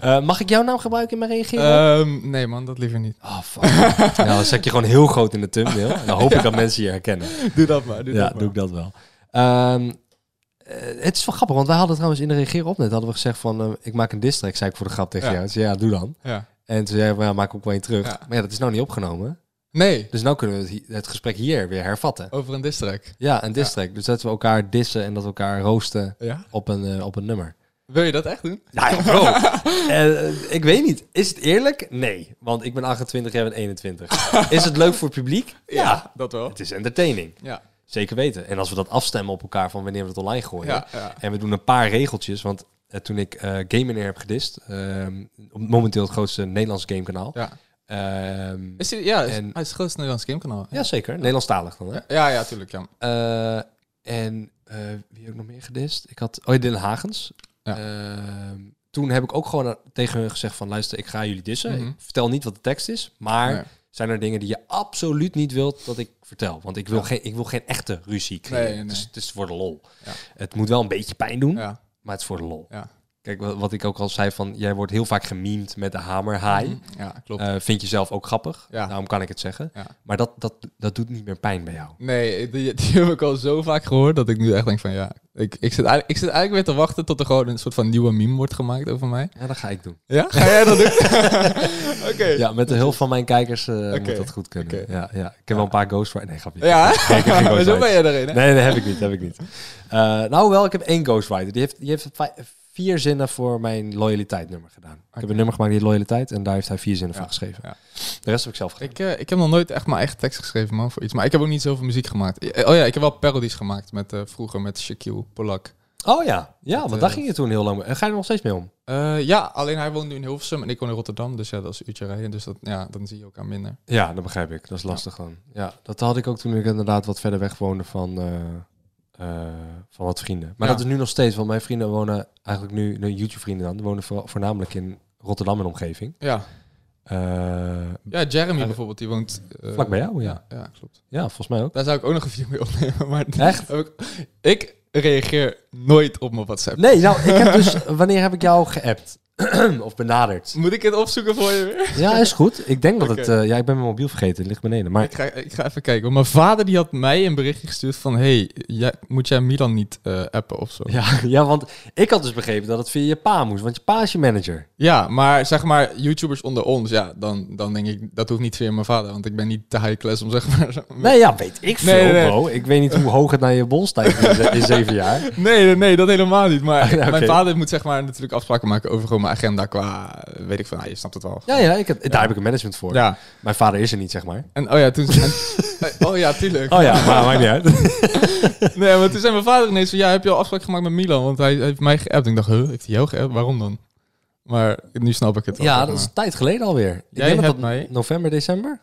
Eh, mag ik jouw naam gebruiken in mijn reageren?
Ehm nee man, dat liever niet.
Ah, fuck. nou, dan zet ik je gewoon heel groot in de thumbnail. En dan hoop ik dat mensen je herkennen.
Doe dat maar. Doe
Ja,
dat maar.
doe ik dat wel. Ehm, eh, het is wel grappig, want wij hadden trouwens in de reageren op net hadden we gezegd van eh, ik maak een diss track, zei ik voor de grap tegen
Ja.
jou. Ik zei, ja, doe dan.
Ja.
En toen zei ik, ja, maak ook wel een terug.
Ja.
Maar ja, dat is nou niet opgenomen.
Nee,
Dus nou kunnen we het, hi- het gesprek hier weer hervatten.
over een diss track.
Oh. Ja, een diss track. Dus dat we elkaar dissen en dat we elkaar roosten
Ja?
op een, eh, op een nummer.
Wil je dat echt doen?
Nou ja, bro. Eh, ik weet niet. Is het eerlijk? Nee. Want ik ben 28, jij bent 21. Is het leuk voor het publiek?
dat wel.
Het is entertaining.
Ja.
Zeker weten. En als we dat afstemmen op elkaar van wanneer we het online gooien.
Ja, ja.
En we doen een paar regeltjes. Want eh, toen ik eh Game Meneer heb gedist. ehm, momenteel het grootste Nederlands gamekanaal.
Ja.
Ehm,
Is hij, ja, is-
En-
hij is het grootste Nederlands gamekanaal.
ja, zeker. Nederlandstalig dan. Hè?
ja, ja, tuurlijk, ja.
Eh, en eh, wie heb ik nog meer gedist? Ik had oh, ja, Dylan Hagens.
Ja.
Ehm, toen heb ik ook gewoon aan- tegen hun gezegd van... luister, ik ga jullie dissen.
Mhm.
Ik vertel niet wat de tekst is. Maar
Nee.
zijn er dingen die je absoluut niet wilt dat ik vertel? Want ik wil,
Ja.
geen, ik wil geen echte ruzie creëren.
Nee, nee, nee.
Dus het is voor de lol.
Ja.
Het moet wel een beetje pijn doen,
Ja,
maar het is voor de lol.
ja.
Kijk, wa- wat ik ook al zei van... jij wordt heel vaak gememd met de hamer, hi.
ja klopt.
Eh, vind je zelf ook grappig,
Mhm. Ja.
daarom kan ik het zeggen.
Ja.
Maar dat, dat, dat doet niet meer pijn bij jou.
Nee, die, die heb ik al zo vaak gehoord dat ik nu echt denk van ja, ik, ik, zit, eigenlijk, ik zit eigenlijk weer te wachten tot er gewoon een soort van nieuwe meme wordt gemaakt over mij.
Ja, dat ga ik doen.
Ja? Ga jij dat doen? Oké.
Ja, met de hulp van mijn kijkers eh,
Oké.
moet dat goed kunnen.
Oké.
Ja, ja. Ik heb wel een paar ghostwriters. Nee, grapje.
Ja,
Ik heb geen
maar zo
ghostwriters.
ben jij erin, hè?
Nee, dat heb ik niet. Heb ik niet. Eh, nou wel, ik heb één ghostwriter. Die heeft, die heeft vij- vier zinnen voor mijn loyaliteitnummer gedaan. Ik heb een nummer gemaakt die heet loyaliteit en daar heeft hij vier zinnen van geschreven.
ja.
De rest heb ik zelf gedaan.
Ik, eh, ik heb nog nooit echt mijn eigen tekst geschreven, man, voor iets. Maar ik heb ook niet zoveel muziek gemaakt. Eh, Oh ja, ik heb wel parodies gemaakt met, eh, vroeger met Shaquille Polak.
Oh ja, ja,
Dat,
want daar
eh,
ging je toen heel lang mee. En ga je er nog steeds mee om?
Eh, ja, alleen hij woont nu in Hilversum en ik woon in Rotterdam. Dus ja, dat is een uurtje rijden. Dus dat, ja, dan zie je elkaar minder.
Ja, dat begrijp ik. Dat is lastig gewoon. Ja, dat had ik ook toen ik inderdaad wat verder weg woonde van, eh, eh, van wat vrienden. Maar
Ja.
dat is nu nog steeds, want mijn vrienden wonen eigenlijk nu, de YouTube-vrienden dan, die wonen voor- voornamelijk in Rotterdam en omgeving.
Ja,
Eh,
ja Jeremy bijvoorbeeld, die woont... eh,
Vlak bij jou, ja.
Ja, klopt.
Ja, volgens mij ook.
Daar zou ik ook nog een video mee opnemen. Maar
Echt?
heb Ik, ik reageer nooit op mijn WhatsApp.
Nee, nou, ik heb dus, wanneer heb ik jou geappt? of benaderd?
Moet ik het opzoeken voor je weer?
Ja, is goed. Ik denk dat het,
Oké.
eh, ja, ik ben mijn mobiel vergeten, die ligt beneden. Maar
Ik ga, ik ga even kijken. Want mijn vader die had mij een berichtje gestuurd van... hey, jij, moet jij Milan niet eh, appen of zo?
ja, ja, want ik had dus begrepen dat het via je pa moest, want je pa is je manager.
Ja, maar zeg maar, YouTubers onder ons, ja, dan, dan denk ik, dat hoeft niet via mijn vader, want ik ben niet te high class om zeg maar.
Nee, ja, weet ik veel,
Nee, nee, nee.
bro. Ik weet niet hoe hoog het naar je bol stijgt in, ze- in zeven jaar.
nee, nee, nee, dat helemaal niet. Maar
Ah, oké.
mijn vader moet zeg maar natuurlijk afspraken maken over gewoon mijn agenda qua, eh, weet ik van, nou, je snapt het wel.
Ja, ja, ik heb, daar heb ik een management voor.
Ja.
Mijn vader is er niet, zeg maar.
En oh ja, toen. en- oh ja, tuurlijk.
Oh ja, maar maakt niet uit.
Nee, maar toen zei mijn vader ineens van, ja, heb je al afspraak gemaakt met Milan? Want hij heeft mij geappt. Ik dacht, huh, heeft hij jou geappt? Waarom dan? Maar nu snap ik het wel,
Ja,
zeg
dat is
maar.
een tijd geleden alweer. Ik
Jij
denk dat
hebt
dat
mij-
November, december?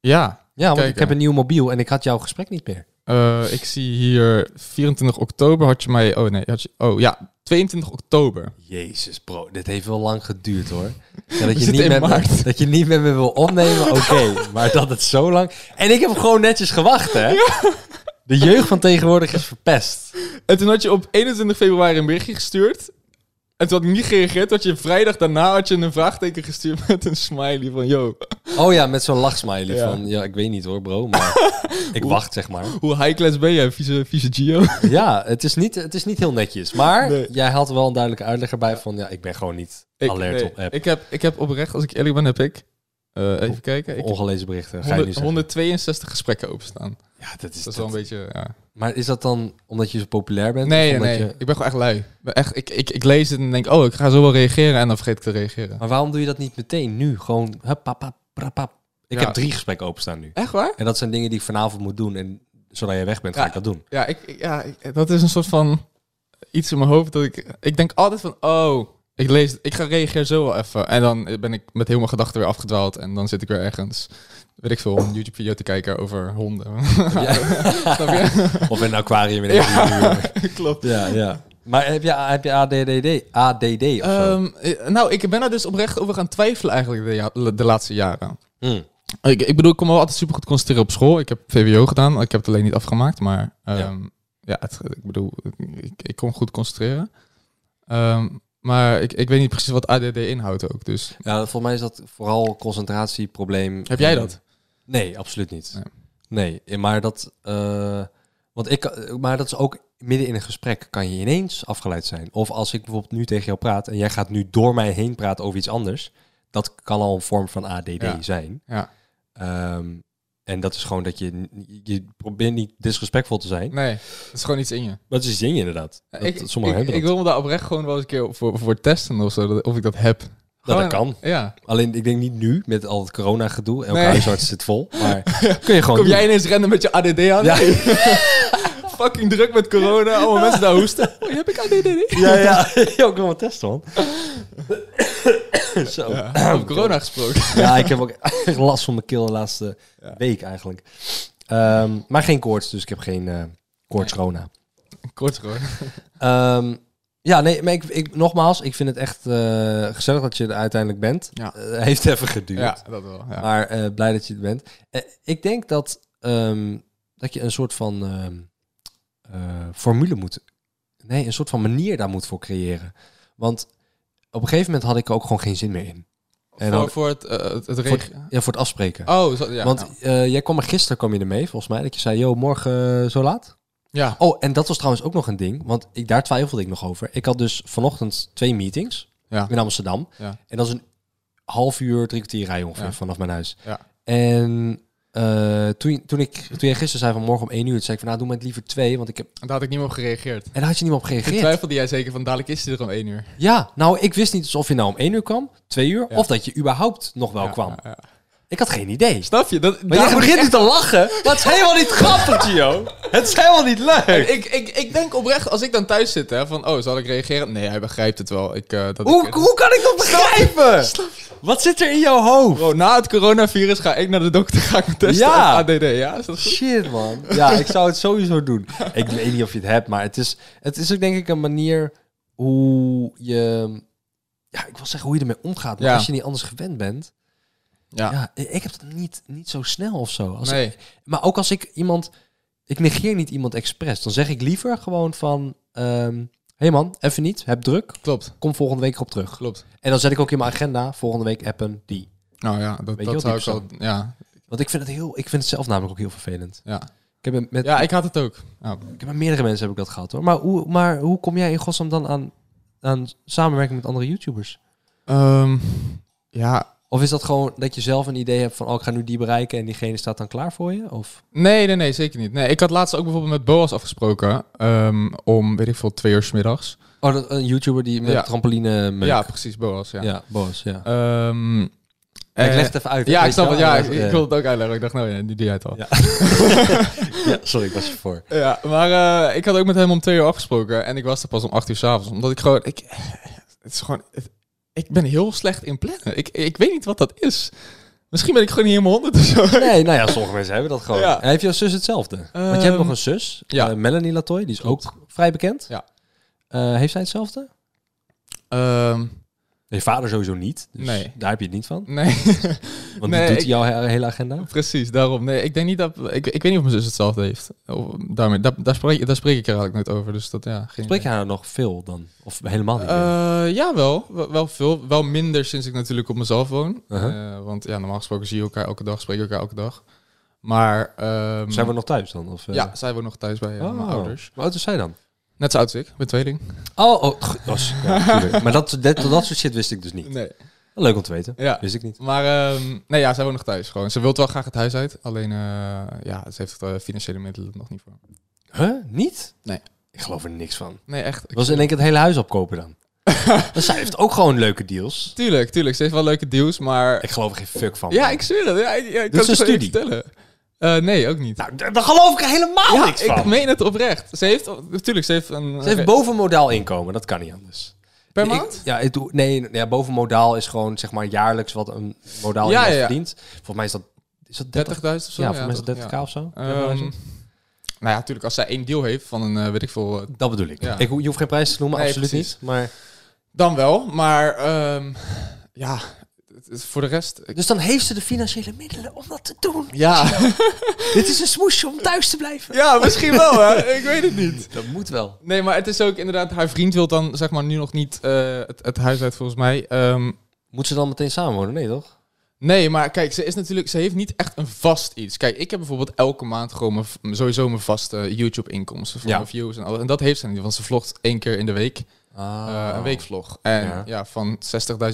Ja.
Ja, want
Kijk,
ik heb
ja.
een nieuw mobiel en ik had jouw gesprek niet meer.
Eh, ik zie hier 24 oktober had je mij. Oh nee, had je, oh ja, 22 oktober.
Jezus, bro. Dit heeft wel lang geduurd, hoor. Ja, dat, je
zitten
niet
in
met me,
maart.
dat je niet met me wil opnemen, oké. Maar dat het zo lang... En ik heb gewoon netjes gewacht, hè. De jeugd van tegenwoordig is verpest.
En toen had je op 21 februari een berichtje gestuurd. En toen had ik niet gereageerd. Had je vrijdag daarna had je een vraagteken gestuurd met een smiley van... Yo,
Oh ja, met zo'n lachsmiley
Ja.
van... Ja, ik weet niet, hoor, bro. Maar ik wacht, zeg maar.
hoe high class ben jij, vieze, vieze Gio?
Ja, het is niet, het is niet heel netjes. Maar
Nee.
jij had er wel een duidelijke uitleg erbij van... Ja, ik ben gewoon niet
Ik,
alert
nee,
op app. Oh,
Ik heb, ik heb oprecht, als ik eerlijk ben, heb ik... eh, even kijken. Ik heb
Ongelezen berichten, ga je niet
100
zeggen.
162 gesprekken openstaan.
Ja, dat is,
Dat is wel een beetje... Ja.
Maar is dat dan omdat je zo populair bent?
Nee,
Of
nee,
omdat
nee.
je-
Ik ben gewoon echt lui. Ik ben Echt, ik, ik, ik lees het en denk... Oh, ik ga zo wel reageren. En dan vergeet ik te reageren.
Maar waarom doe je dat niet meteen nu? Gewoon hup, pap, pap, prap, pap. Ik
Ja.
heb drie gesprekken openstaan nu.
Echt waar?
En dat zijn dingen die ik vanavond moet doen. En zodra jij weg bent, ga
Ja.
ik dat doen.
Ja, ik, ik- ja ik- dat is een soort van iets in mijn hoofd dat ik... Ik denk altijd van, oh, ik lees, ik ga reageren zo wel even. En dan ben ik met heel mijn gedachten weer afgedwaald. En dan zit ik weer ergens, weet ik veel, een YouTube-video te kijken over honden. Snap je?
Of in een aquarium in een ja.
Klopt.
ja, ja. Maar heb je, heb je ADDD? ADD of zo?
Ehm, eh, nou, ik ben daar dus oprecht over gaan twijfelen eigenlijk de, ja- de laatste jaren.
Hmm.
Ik, ik bedoel, ik kon me wel altijd super goed concentreren op school. Ik heb VWO gedaan, ik heb het alleen niet afgemaakt, maar ehm, ja, het- ik bedoel, ik, ik kon goed concentreren. Ehm, maar ik, ik weet niet precies wat ADD inhoudt ook, dus
Ja, volgens mij is dat vooral concentratieprobleem.
heb jij dat?
Nee, absoluut niet.
Nee.
Nee, eh, maar dat, eh, want ik, eh, maar dat is ook midden in een gesprek kan je ineens afgeleid zijn. Of als ik bijvoorbeeld nu tegen jou praat en jij gaat nu door mij heen praten over iets anders, dat kan al een vorm van ADD
Ja.
zijn.
Ja.
Ehm, en dat is gewoon dat je, n- je probeert niet disrespectvol te zijn.
Nee, het is gewoon iets in je.
Maar het is zin je inderdaad. Dat,
ik,
sommigen
ik,
hebben
ik
dat.
wil me daar oprecht gewoon wel eens een keer voor, voor testen of zo, dat- of ik dat heb.
Nou, dat
Gewoon-
kan.
Ja.
Alleen, ik denk niet nu, met al het corona-gedoe. Elke
Nee.
huisarts zit vol. Maar kun je gewoon
Kom
doen.
jij ineens rennen met je ADD aan?
Ja.
Fucking druk met corona. Allemaal mensen daar hoesten. Oei, heb ik ADD?
Ja, ja. ja, ik wil een test, man. Zo. Ja.
Over corona gesproken.
ik heb ook echt last van mijn keel de laatste week eigenlijk. Ehm, maar geen koorts, dus ik heb geen eh koorts-corona.
Kort gewoon.
Ehm, ja, nee, maar ik, ik, nogmaals, ik vind het echt eh, gezellig dat je er uiteindelijk bent.
Ja.
Eh, heeft even geduurd.
Ja, dat wel. Ja.
Maar eh, blij dat je er bent. Eh, ik denk dat, ehm, dat je een soort van ehm, eh, formule moet. Nee, een soort van manier daar moet voor creëren. Want op een gegeven moment had ik er ook gewoon geen zin meer in. En
voor,
dan,
voor het, eh, het, het
voor,
regen.
het- ja, voor het afspreken.
Oh, zo, ja.
Want
ja.
eh, jij kwam er gisteren kwam je ermee, volgens mij, dat je zei: Yo, morgen eh, zo laat.
ja.
Oh, en dat was trouwens ook nog een ding, want ik, daar twijfelde ik nog over. Ik had dus vanochtend twee meetings
Ja.
Ik ben in Amsterdam.
Ja.
En dat is een half uur, drie kwartier rij ongeveer
Ja.
vanaf mijn huis.
Ja.
En eh, toen, toen, ik, toen jij gisteren zei van morgen om één uur, toen zei ik van nou, doe maar het liever twee, want ik heb...
Daar had ik niet meer op gereageerd.
En daar had je niet meer op
Toen
gereageerd.
twijfelde jij zeker van dadelijk is het er om één uur.
Ja, nou, ik wist niet dus of je nou om één uur kwam, twee uur,
Ja.
of dat je überhaupt nog wel
Ja,
kwam.
ja, ja.
Ik had geen idee.
Snap je? Dat,
Maar
daar
jij
moet ik
begint nu te lachen. Dat is helemaal niet grappig, Gio. Het is helemaal niet leuk.
Ik, ik, ik denk oprecht, als ik dan thuis zit, hè, van oh, zal ik reageren? Nee, hij begrijpt het wel. Ik, eh, dat
Hoe,
ik-
hoe kan ik dat begrijpen? Wat zit er in jouw hoofd?
Bro, na het coronavirus ga ik naar de dokter, ga ik me testen
Ja.
ja. ADD, ja? Is dat goed?
Shit, man. Ja, ik zou het sowieso doen. Ik weet niet of je het hebt, maar het is, het is ook denk ik een manier hoe je... Ja, ik wil zeggen hoe je ermee omgaat. Maar
Ja.
als je niet anders gewend bent...
Ja.
Ja, ik ik heb dat niet, niet zo snel of zo. Als
Nee.
ik- maar ook als ik iemand... Ik negeer niet iemand expres. Dan zeg ik liever gewoon van... ehm, hey man, even niet. Heb druk.
Klopt,
Kom volgende week op terug.
klopt.
En dan zet ik ook in mijn agenda... Volgende week appen die.
Nou ja, dat,
je
dat
wel,
zou
die
ik al... Ja,
Want ik vind het, heel, ik vind het zelf namelijk ook heel vervelend.
ja.
Ik heb met,
ja, ik had het ook. Ja.
Ik heb met meerdere mensen heb ik dat gehad hoor. Maar hoe, maar hoe kom jij in godsnaam dan aan, aan samenwerking met andere YouTubers?
Ehm, ja,
Of is dat gewoon dat je zelf een idee hebt van oh, ik ga nu die bereiken en diegene staat dan klaar voor je? Of
nee, nee, nee, zeker niet. Nee, ik had laatst ook bijvoorbeeld met Boas afgesproken ehm, om, weet ik veel, twee uur 's middags.
oh, dat, een YouTuber die met
Ja.
trampoline meuk.
Ja, precies, Boas, ja.
ja. boos. Ja.
Ehm,
ik
eh,
leg het even uit.
Ja,
weet
ik snap
je
het.
wel?
Ja, ik, ik wil het ook uitleggen. Ik dacht, nou ja, die doe jij het al.
Ja. Ja, sorry, ik was je voor.
Ja, maar eh, ik had ook met hem om twee uur afgesproken en ik was er pas om acht uur s'avonds. Omdat ik gewoon, ik, het is gewoon, het- ik ben heel slecht in plannen. Ik, ik weet niet wat dat is. Misschien ben ik gewoon niet helemaal honderd of zo.
Nee, nou ja, sommige mensen hebben dat gewoon.
Ja.
En heeft jouw zus hetzelfde? Want je hebt
Ehm,
nog een zus,
ja.
eh, Melanie Latoy, die is
Klopt.
ook vrij bekend.
Ja.
Eh, heeft zij hetzelfde?
Ehm,
Nee, vader sowieso niet. Dus
Nee.
daar heb je het niet van.
nee,
Want
Nee,
die doet
ik-
jouw he- hele agenda.
precies, daarom. Nee, ik denk niet dat, ik, ik weet niet of mijn zus hetzelfd heeft. Of, daarmee, daar, daar, spreek, daar spreek ik er eigenlijk nooit over. Dus dat, ja, geen
Spreek je
idee.
haar nog veel dan? Of helemaal niet? meer?
Eh, ja, wel. Wel- Wel veel. Wel minder sinds ik natuurlijk op mezelf woon.
Uh-huh.
Eh, want ja, normaal gesproken zie je elkaar elke dag, spreek je elkaar elke dag. Maar... ehm,
Zijn we nog thuis dan? Of, eh?
Ja, zij woont nog thuis bij eh,
Oh.
mijn ouders.
Hoe oud is zij dan?
Net zo oud als ik, ik ben tweeling.
Oh, oh, g- oh, s- ja, natuurlijk. maar dat, dat, dat soort shit wist ik dus niet.
Nee.
Leuk om te weten.
Ja.
Wist ik niet.
Maar ehm, nee, ja, zij woont nog thuis gewoon. Ze wil wel graag het huis uit, alleen eh, ja, ze heeft de financiële middelen nog niet voor.
Huh? Niet?
Nee.
Ik geloof er niks van.
Nee, echt. Ik-
Was in één keer het hele huis opkopen dan? Maar zij heeft ook gewoon leuke deals.
Tuurlijk, tuurlijk. Ze heeft wel leuke deals, maar...
Ik geloof er geen fuck van.
Ja, ik zweer het. Ja, ik, ja, ik
Doet
kan
ze
het
een
zo even
studie?
vertellen. Eh, nee, ook niet.
Nou, d- daar geloof ik er helemaal niks
ik
van.
meen het oprecht. Ze heeft, natuurlijk, ze heeft een...
Ze heeft bovenmodaal inkomen, dat kan niet anders.
per
Ik-
maand?
ja, ik doe, nee, ja, bovenmodaal is gewoon zeg maar jaarlijks wat een modaal
Ja,
iemand
ja, ja.
verdient. Volgens mij is dat, is dat 30
30.000 of zo?
ja, voor mensen
toch?
30k
Ja.
of zo.
Ehm, nou ja, natuurlijk, als zij één deal heeft van een, eh, weet ik veel, eh,
dat bedoel ik.
ja.
ik. ho- Je hoeft geen prijs te noemen,
Nee,
absoluut
precies.
niet. Maar,
Dan wel, maar ehm, ja, het is voor de rest. ik-
dus dan heeft ze de financiële middelen om dat te doen.
Ja.
Dit is een smoesje om thuis te blijven.
ja, misschien wel, hè? Ik weet het niet.
Dat moet wel.
Nee, maar het is ook inderdaad, haar vriend wil dan zeg maar nu nog niet eh, het, het huis uit, volgens mij. Ehm,
Moet ze dan meteen samenwonen? Nee, toch?
nee, maar kijk, ze is natuurlijk, ze heeft niet echt een vast iets. Kijk, ik heb bijvoorbeeld elke maand gewoon mijn v- sowieso mijn vaste YouTube-inkomsten van
Ja.
mijn views en alles. En dat heeft ze niet, want ze vlogt één keer in de week. Eh, een weekvlog. En ja, van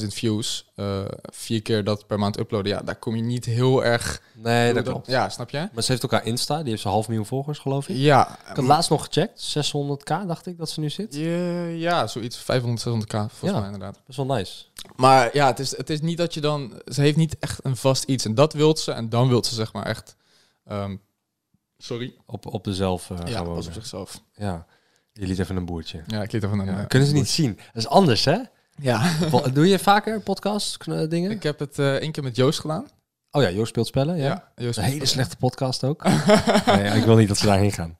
60.000 views, eh, vier keer dat per maand uploaden. Ja, daar kom je niet heel erg...
Nee, dat klopt.
Ja, snap je?
Maar ze heeft ook haar Insta, die heeft ze half miljoen volgers, geloof ik.
Ja,
Ik had laatst nog gecheckt, 600k dacht ik dat ze nu zit.
ja, ja zoiets 500, 600k volgens
Ja.
mij inderdaad.
Best wel nice.
Maar ja, het is, het is niet dat je dan... Ze heeft niet echt een vast iets. En dat wilt ze. En dan wilt ze zeg maar echt... ehm, sorry.
Op, op dezelfde eh,
Ja,
gewoon.
pas op zichzelf.
Ja. Je liet even een boertje.
Ja, ik liet ervan aan.
Ja,
eh,
kunnen ze niet zien. Dat is anders, hè?
Ja.
Wel, Doe je vaker podcasts, kn- dingen?
ik heb het eh één keer met Joost gedaan.
Oh ja, Joost speelt spellen, ja.
Ja, Joost.
Een hele slechte podcast ook. nee, ik wil niet dat ze daarheen gaan.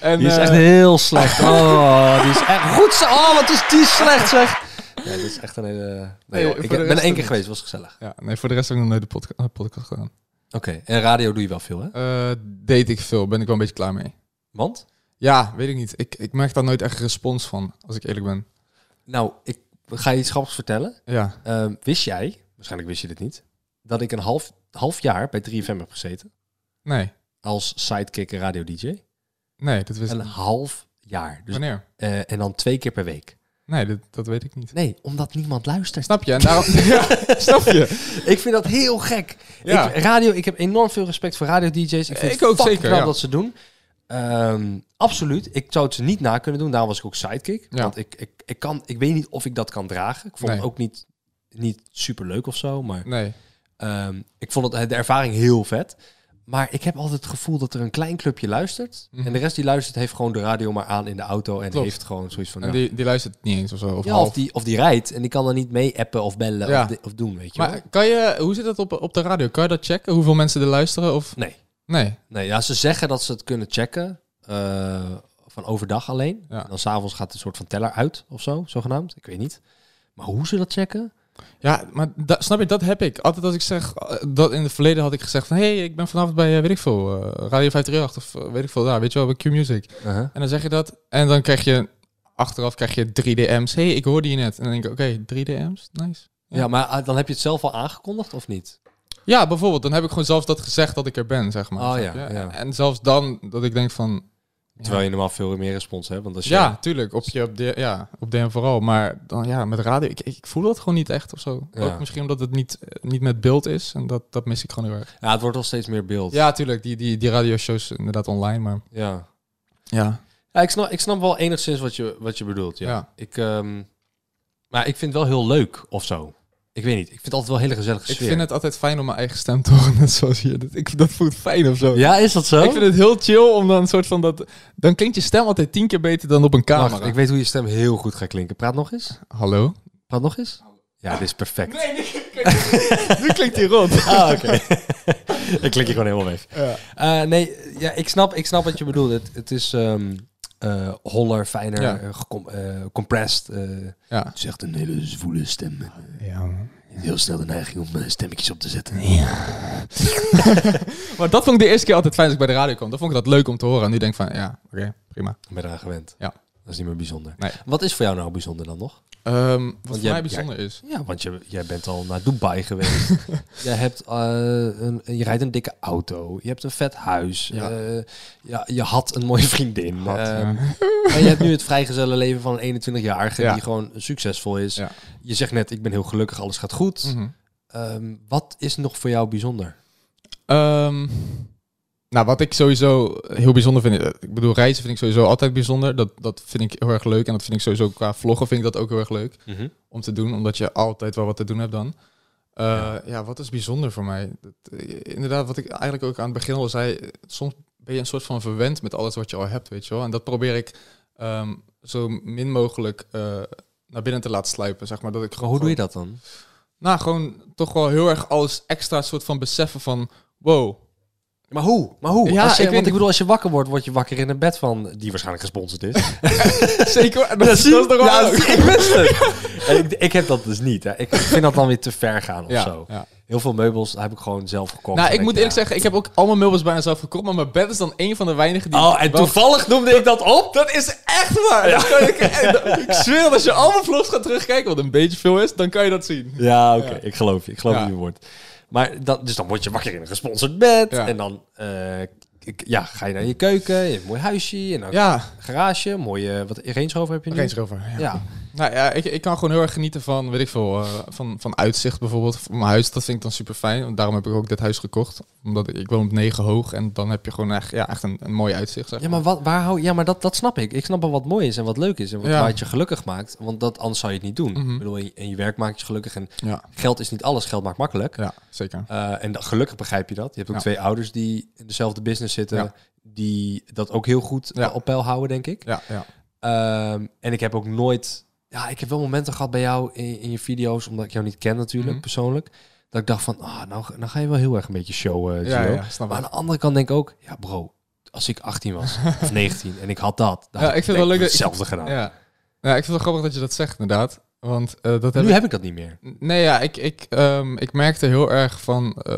En,
Die is
eh,
echt heel slecht. Oh, die is echt goed zo. Oh, wat is die slecht, zeg. Ja, dit is echt een hele... Nee,
Nee,
joh,
voor
ik
de
ben
rest
er één keer
niet.
geweest, was gezellig.
ja, nee, voor de rest heb ik nog nooit de podca- eh, podcast gedaan.
Oké, en radio doe je wel veel, hè?
Eh deed ik veel. Ben ik wel een beetje klaar mee.
Want?
Ja, weet ik niet. Ik, ik merk daar nooit echt respons van, als ik eerlijk ben.
Nou, ik ga je iets grappigs vertellen.
Ja.
Ehm, wist jij, waarschijnlijk wist je dit niet, dat ik een half, half jaar bij 3FM heb gezeten
Nee.
als sidekick en radio-dj?
Nee, dat wist ik
Een
niet.
half jaar. Dus,
Wanneer?
eh, en dan twee keer per week.
Nee, dat, dat weet ik niet.
Nee, omdat niemand luistert.
Snap je? En daarom... ja, snap je?
Ik vind dat heel gek.
Ja.
Ik, radio, ik heb enorm veel respect voor radio-dj's. Ik vind
Ik
het
ook
fucking
zeker,
knap
ja.
dat ze doen. Ehm, absoluut. Ik zou het ze niet na kunnen doen. Daarom was ik ook sidekick.
Ja.
Want ik, ik, ik, kan, ik weet niet of ik dat kan dragen. Ik vond
Nee.
het ook niet, niet super leuk of zo. Maar
Nee.
ehm, ik vond het, de ervaring heel vet. Maar ik heb altijd het gevoel dat er een klein clubje luistert. En de rest die luistert heeft gewoon de radio maar aan in de auto. En
Mhm. Klopt.
heeft gewoon zoiets van...
En
ja.
die, die luistert niet eens of zo. Of
Ja,
half.
of die, of die rijdt en die kan dan niet mee appen of bellen
Ja.
of, di- of doen, weet je wel.
Maar kan je... Hoe zit dat op, op de radio? Kan je dat checken? Hoeveel mensen er luisteren? Of...
Nee.
Nee.
Nee, ja, ze zeggen dat ze het kunnen checken. eh, van overdag alleen.
Ja.
En dan s'avonds gaat een soort van teller uit of zo, zogenaamd. Ik weet niet. Maar hoe ze dat checken?
Ja, maar da- snap je, dat heb ik. Altijd als ik zeg, eh, dat in het verleden had ik gezegd van... hey, ik ben vanavond bij, eh, weet ik veel, eh, Radio 538 of eh, weet ik veel daar, weet je wel, bij Q-Music. En dan zeg je dat en dan krijg je, achteraf krijg je drie DM's. hey, ik hoorde je net. En dan denk ik, oké, drie DM's, nice.
ja. maar ah, dan heb je het zelf al aangekondigd of niet?
Ja, bijvoorbeeld, dan heb ik gewoon zelfs dat gezegd dat ik er ben, zeg maar.
Oh,
Snap
ja,
je?
ja.
En zelfs dan dat ik denk van,
Terwijl je normaal veel meer respons hebt. Want als je,
ja, tuurlijk, op, je, op, de, ja, op DM vooral. Maar dan, ja, met radio, ik, ik voel dat gewoon niet echt of zo.
Ja.
Ook misschien omdat het niet, eh, niet met beeld is en dat, dat mis ik gewoon heel erg.
ja, het wordt al steeds meer beeld.
Ja, tuurlijk. Die, die, die radioshows inderdaad online, maar...
ja.
Ja.
Ja, ik, snap, ik snap wel enigszins wat je, wat je bedoelt. Ja.
Ja.
Ik, ehm, maar ik vind het wel heel leuk of zo. Ik weet niet. Ik vind het altijd wel een hele gezellige
Ik
sfeer.
vind het altijd fijn om mijn eigen stem te horen, net zoals hier. Dat, ik, dat voelt fijn of zo.
Ja, is dat zo?
Ik vind het heel chill om dan een soort van dat... Dan klinkt je stem altijd tien keer beter dan op een camera.
Wacht, ik weet hoe je stem heel goed gaat klinken. Praat nog eens.
Hallo?
Praat nog eens. Ja, dit is perfect.
Nu klinkt hij rond.
Ah, oké. ik klik je gewoon helemaal weg. Eh, nee, ja, ik, snap, ik snap wat je bedoelt. Het, het is ehm, eh, holler, fijner,
Ja.
eh, gecom- eh, compressed. eh. Het
Ja.
is echt een hele zwoele stem.
ja.
Heel snel de neiging om eh, stemmetjes op te zetten.
Maar dat vond ik de eerste keer altijd fijn als ik bij de radio kwam. Dan vond ik dat leuk om te horen. En nu denk ik van, ja, oké, prima.
Ik ben eraan gewend.
Ja.
Dat is niet meer bijzonder.
Nee.
Wat is voor jou nou bijzonder dan nog?
Ehm, wat voor
jij-
mij bijzonder is...
Ja, want je, jij bent al naar Dubai geweest. jij hebt, eh, een, je rijdt een dikke auto. Je hebt een vet huis.
Ja.
eh, ja, je had een mooie vriendin.
Had,
Ehm,
ja.
Maar je hebt nu het vrijgezellen leven van een 21-jarige
Ja.
die gewoon succesvol is.
Ja.
Je zegt net, ik ben heel gelukkig, alles gaat goed.
Mhm.
Ehm, wat is nog voor jou bijzonder?
Ehm, nou, wat ik sowieso heel bijzonder vind. eh, Ik bedoel, reizen vind ik sowieso altijd bijzonder. Dat, dat vind ik heel erg leuk. En dat vind ik sowieso qua vloggen vind ik dat ook heel erg leuk
Mhm.
om te doen. Omdat je altijd wel wat te doen hebt dan. Eh, ja. wat is bijzonder voor mij? Dat, eh, inderdaad, wat ik eigenlijk ook aan het begin al zei. eh, Soms ben je een soort van verwend met alles wat je al hebt, weet je wel. En dat probeer ik ehm, zo min mogelijk eh, naar binnen te laten sluipen, zeg maar. Dat ik
Maar hoe doe je dat dan?
Nou, gewoon toch wel heel erg alles extra soort van beseffen van... Wow,
Maar hoe? Maar hoe?
Ja,
als je,
ik
want
weet-
ik bedoel, als je wakker wordt, word je wakker in een bed van... die waarschijnlijk gesponsord is.
Zeker, dat, dat, is toch
Ja,
wel leuk.
ik wist het. En ik, ik heb dat dus niet. Hè. Ik vind dat dan weer te ver gaan of
Ja,
zo.
ja.
Heel veel meubels heb ik gewoon zelf gekocht.
Nou,
Dan
ik moet
denk
eerlijk
ja.
zeggen, ik heb ook allemaal meubels bijna zelf gekocht, maar mijn bed is dan één van de weinigen die...
Oh, en
wel-
toevallig noemde ik dat op? Dat is
Echt waar! Dat kan ik, eh, dat- ik zweer, dat als je allemaal vlogs gaat terugkijken, wat een beetje veel is, dan kan je dat zien.
Ja, oké. Ik geloof je. Ik geloof
Ja.
je woord. Maar dat, dus dan word je wakker in een gesponsord bed.
Ja.
En dan eh, ik- ja, ga je naar je keuken, je hebt een mooi huisje, je hebt een
Ja,
garage, mooie, wat, Range Rover heb je nu?
Range Rover. Ja.
Ja,
Nou ja, ik, ik kan gewoon heel erg genieten van, weet ik veel, eh, van, van uitzicht bijvoorbeeld. Van mijn huis, dat vind ik dan super fijn. Daarom heb ik ook dit huis gekocht. Omdat ik, ik woon op 9 hoog en dan heb je gewoon echt, ja, echt een, een mooi uitzicht. Zeg.
ja maar, wat, waar hou, ja, maar dat, dat snap ik. Ik snap wel wat mooi is en wat leuk is en wat,
Ja. Mhm.
waar het je gelukkig maakt. Want dat, anders zou je het niet doen. Ik bedoel, en je- en je werk maakt je gelukkig en
Ja,
geld is niet alles, geld maakt makkelijk.
ja zeker.
Eh, en dat- gelukkig begrijp je dat. Je hebt ook
Ja.
twee ouders die in dezelfde business zitten,
Ja.
die dat ook heel goed
Ja.
eh, op peil houden, denk ik.
Ja, ja.
Ehm, en ik heb ook nooit. Ja, ik heb wel momenten gehad bij jou in, in je video's, omdat ik jou niet ken natuurlijk,
Mhm.
persoonlijk. Dat ik dacht van, ah, nou, ga- nou ga je wel heel erg een beetje showen, eh, Gio.
Ja, ja, snap
Maar aan
ik.
de andere kant denk ik ook, ja bro, als ik 18 was of 19 en ik had dat, dan
Ja,
had
ik vind het wel
denk
leuk dat-
hetzelfde gedaan.
Ja. ja, ik vind het wel grappig dat je dat zegt inderdaad. Want eh, dat Mm. heb
nu
ik...
heb ik dat niet meer.
Nee, ja, ik, ik, ehm, ik merkte heel erg van... eh,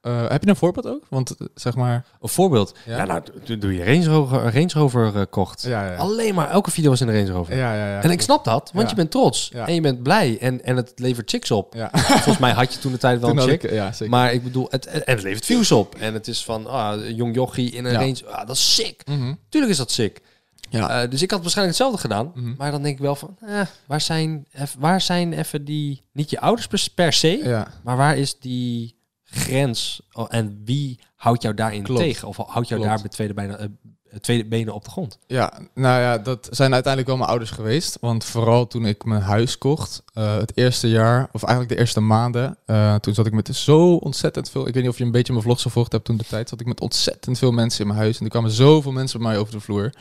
eh, heb je een voorbeeld ook? Want eh, zeg maar...
Een voorbeeld, ja,
Ja.
nou, toen toen je Range Rover, een Range Rover eh, kocht,
Ja, ja, ja.
alleen maar, elke video was in de Range Rover.
Ja, ja, ja.
En ik snap dat, want
Ja.
je bent trots
Ja.
en je bent blij en, en het levert chicks op.
Ja.
Volgens mij had je toen de tijd wel
Toen
een
had
chick.
ik- ja, zeker.
Maar ik bedoel, het, en het levert views op. En het is van, ah, een jong jochie in een
Ja.
range. Ah, dat is sick.
Mhm.
Tuurlijk is dat sick.
Ja.
Eh, dus ik had waarschijnlijk hetzelfde gedaan.
Mhm.
Maar dan denk ik wel van, eh, waar zijn eff- waar zijn even die... Niet je ouders per, per se,
ja.
maar waar is die grens? Oh, En wie houdt jou daarin
Klopt.
tegen? Of houdt jou
Klopt.
daar met tweede benen, eh, tweede benen op de grond?
Ja, nou ja, dat zijn uiteindelijk wel mijn ouders geweest. Want vooral toen ik mijn huis kocht, eh, het eerste jaar, of eigenlijk de eerste maanden, eh, toen zat ik met zo ontzettend veel. Ik weet niet of je een beetje mijn vlogs gevolgd hebt toen de tijd, zat ik met ontzettend veel mensen in mijn huis. En er kwamen zoveel mensen bij mij over de vloer.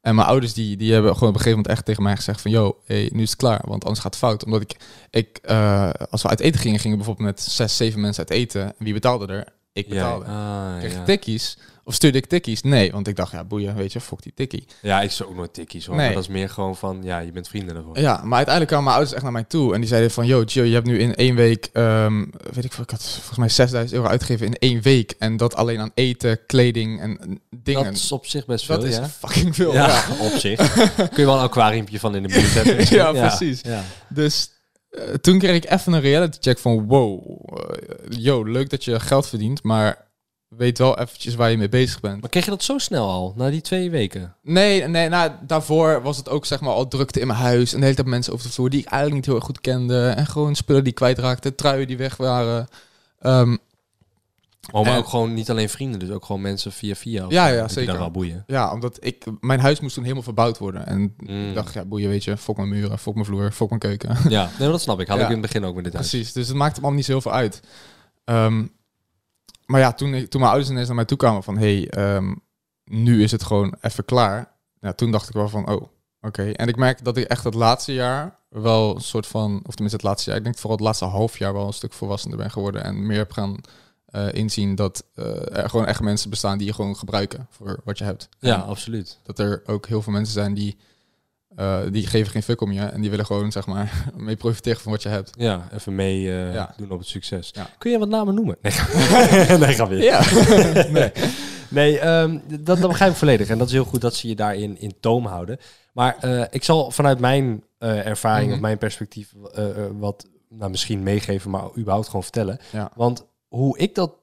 En mijn ouders die, die hebben gewoon op een gegeven moment echt tegen mij gezegd van... ...yo, hey, nu is het klaar, want anders gaat het fout. Omdat ik, ik eh, als we uit eten gingen, gingen we bijvoorbeeld met zes, zeven mensen uit eten. En wie betaalde er? Ik betaalde.
Ah,
Kreeg
ja.
ik tikkies? Of stuurde ik tikkies? Nee, want ik dacht, ja, boeien, weet je, fuck die tikkie.
Ja, ik zou ook nooit tikkies hoor.
Nee. Eh,
Maar dat is meer gewoon van, ja, je bent vrienden ervoor.
Ja, maar uiteindelijk kwamen mijn ouders echt naar mij toe. En die zeiden van, yo, Gio, je hebt nu in één week, ehm, weet ik veel, ik had volgens mij 6000 euro uitgegeven in één week. En dat alleen aan eten, kleding en en dingen. Dus
Dat is op zich best
Dat
veel,
is
ja.
fucking veel. Ja.
Ja, op zich. Kun je wel een aquariumpje van in de buurt hebben.
Ja, precies.
Ja.
Dus eh, toen kreeg ik even een reality check van, wow, eh, yo, leuk dat je geld verdient, maar weet wel eventjes waar je mee bezig bent.
Maar kreeg je dat zo snel al, na die twee weken?
Nee, nee nou, daarvoor was het ook zeg maar al drukte in mijn huis. En de hele tijd mensen over de vloer die ik eigenlijk niet heel erg goed kende. En gewoon spullen die ik kwijtraakte, truien die weg waren. Ehm,
Oh, maar
Eh.
ook gewoon niet alleen vrienden, dus ook gewoon mensen via via. of
Ja,
zo,
ja,
dat je
zeker.
daar wel boeien.
ja, omdat ik, mijn huis moest toen helemaal verbouwd worden. En
Mm.
ik dacht, ja, boeien, weet je, fok mijn muren, fok mijn vloer, fok mijn keuken.
Ja, nee, maar dat snap ik. Had
Ja.
ik in het begin ook met dit huis.
Precies, dus het maakt hem allemaal niet zoveel uit. Ehm, maar ja, toen, ik- toen mijn ouders ineens naar mij toe kwamen van... hey, ehm, nu is het gewoon even klaar. Ja, toen dacht ik wel van, oh, oké. En ik merk dat ik echt het laatste jaar wel een soort van... of tenminste het laatste jaar, ik denk vooral het laatste half jaar... wel een stuk volwassener ben geworden en meer heb gaan eh, inzien... dat eh, er gewoon echt mensen bestaan die je gewoon gebruiken voor wat je hebt.
Ja,
En
absoluut.
Dat er ook heel veel mensen zijn die... eh, die geven geen fuck om je en die willen gewoon, zeg maar, mee profiteren van wat je hebt.
Ja, even mee eh,
Ja.
doen op het succes.
Ja.
Kun je wat namen noemen? Nee, ga- nee ga weer.
Ja.
nee, nee ehm, dat, dat begrijp ik volledig. En dat is heel goed dat ze je daarin in toom houden. Maar eh, ik zal vanuit mijn eh, ervaring
Mhm.
of mijn perspectief eh, eh, wat nou, misschien meegeven, maar überhaupt gewoon vertellen.
Ja.
Want hoe ik dat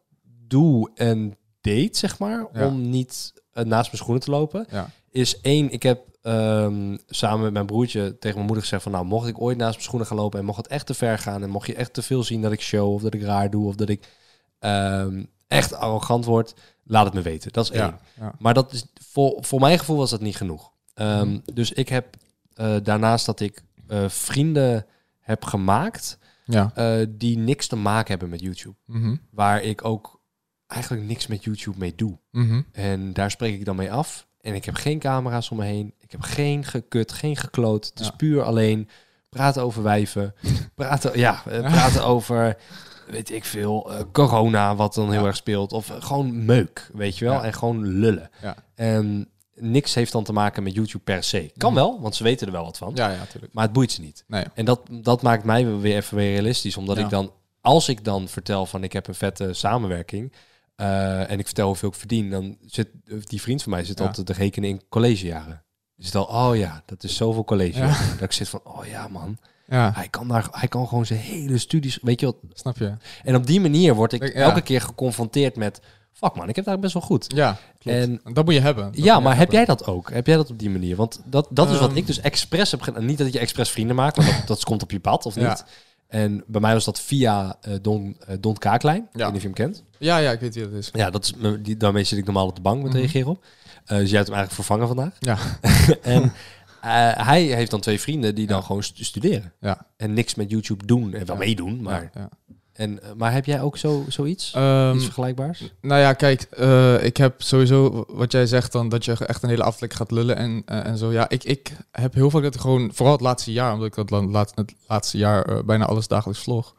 doe en deed, zeg maar,
Ja.
om niet eh, naast mijn schoenen te lopen,
Ja.
is één, ik heb ehm, samen met mijn broertje tegen mijn moeder gezegd van, nou, mocht ik ooit naast mijn schoenen gaan lopen en mocht het echt te ver gaan en mocht je echt te veel zien dat ik show of dat ik raar doe of dat ik ehm, echt arrogant word, laat het me weten. Dat is één.
Ja, ja.
Maar dat is, voor, voor mijn gevoel was dat niet genoeg. Ehm,
Mhm.
Dus ik heb eh, daarnaast dat ik eh, vrienden heb gemaakt
Ja.
eh, die niks te maken hebben met YouTube.
Mhm.
Waar ik ook eigenlijk niks met YouTube mee doe.
Mhm.
En daar spreek ik dan mee af. En ik heb geen camera's om me heen. Ik heb geen gekut, geen gekloot. Het is
Ja.
puur alleen praten over wijven. praten, ja, eh, praten over, weet ik veel, eh, corona, wat dan heel
Ja.
erg speelt. Of eh, gewoon meuk, weet je wel.
Ja.
En gewoon lullen.
Ja.
En niks heeft dan te maken met YouTube per se. Kan wel, want ze weten er wel wat van.
Mhm. Ja, ja, tuurlijk.
Maar het boeit ze niet.
Nee.
En dat, dat maakt mij weer even weer realistisch. Omdat
Ja.
ik dan, als ik dan vertel van ik heb een vette samenwerking. eh, en ik vertel hoeveel ik verdien. Dan zit die vriend van mij zit
Ja.
altijd te rekenen in collegejaren. Die zit al, oh ja, dat is zoveel college. Dat ik zit van, oh ja man,
Ja,
hij kan, daar, hij kan gewoon zijn hele studies, weet je wat.
snap je.
En op die manier word ik
Ja.
elke keer geconfronteerd met fuck man, ik heb het eigenlijk best wel goed.
Ja, klopt.
En-
En dat moet je hebben. Dat
ja,
moet je
maar heb
hebben.
jij dat ook? Heb jij dat op die manier? Want dat, dat is wat
Ehm.
ik dus expres heb gedaan. Niet dat je expres vrienden maakt, want dat, dat komt op je pad, of niet?
Ja.
En bij mij was dat via eh, Don, eh, Don Kaaklijn. Ik weet niet of je hem kent.
Ja, ja, ik weet wie dat is.
Ja, dat is, me- die, daarmee zit ik normaal op de bank met reageren op. Eh, dus jij hebt hem eigenlijk vervangen vandaag.
Ja,
en eh, hij heeft dan twee vrienden die dan gewoon stu- studeren.
ja.
En niks met YouTube doen. En wel meedoen, maar...
ja.
En, eh, maar heb jij ook zo, zoiets?
Ehm,
Iets vergelijkbaars?
nou ja, kijk, eh, ik heb sowieso wat jij zegt dan dat je echt een hele afdeling gaat lullen en, eh, en zo. Ja, ik, ik heb heel vaak dat ik gewoon, vooral het laatste jaar, omdat ik dat la- laat, het laatste jaar eh, bijna alles dagelijks vlog,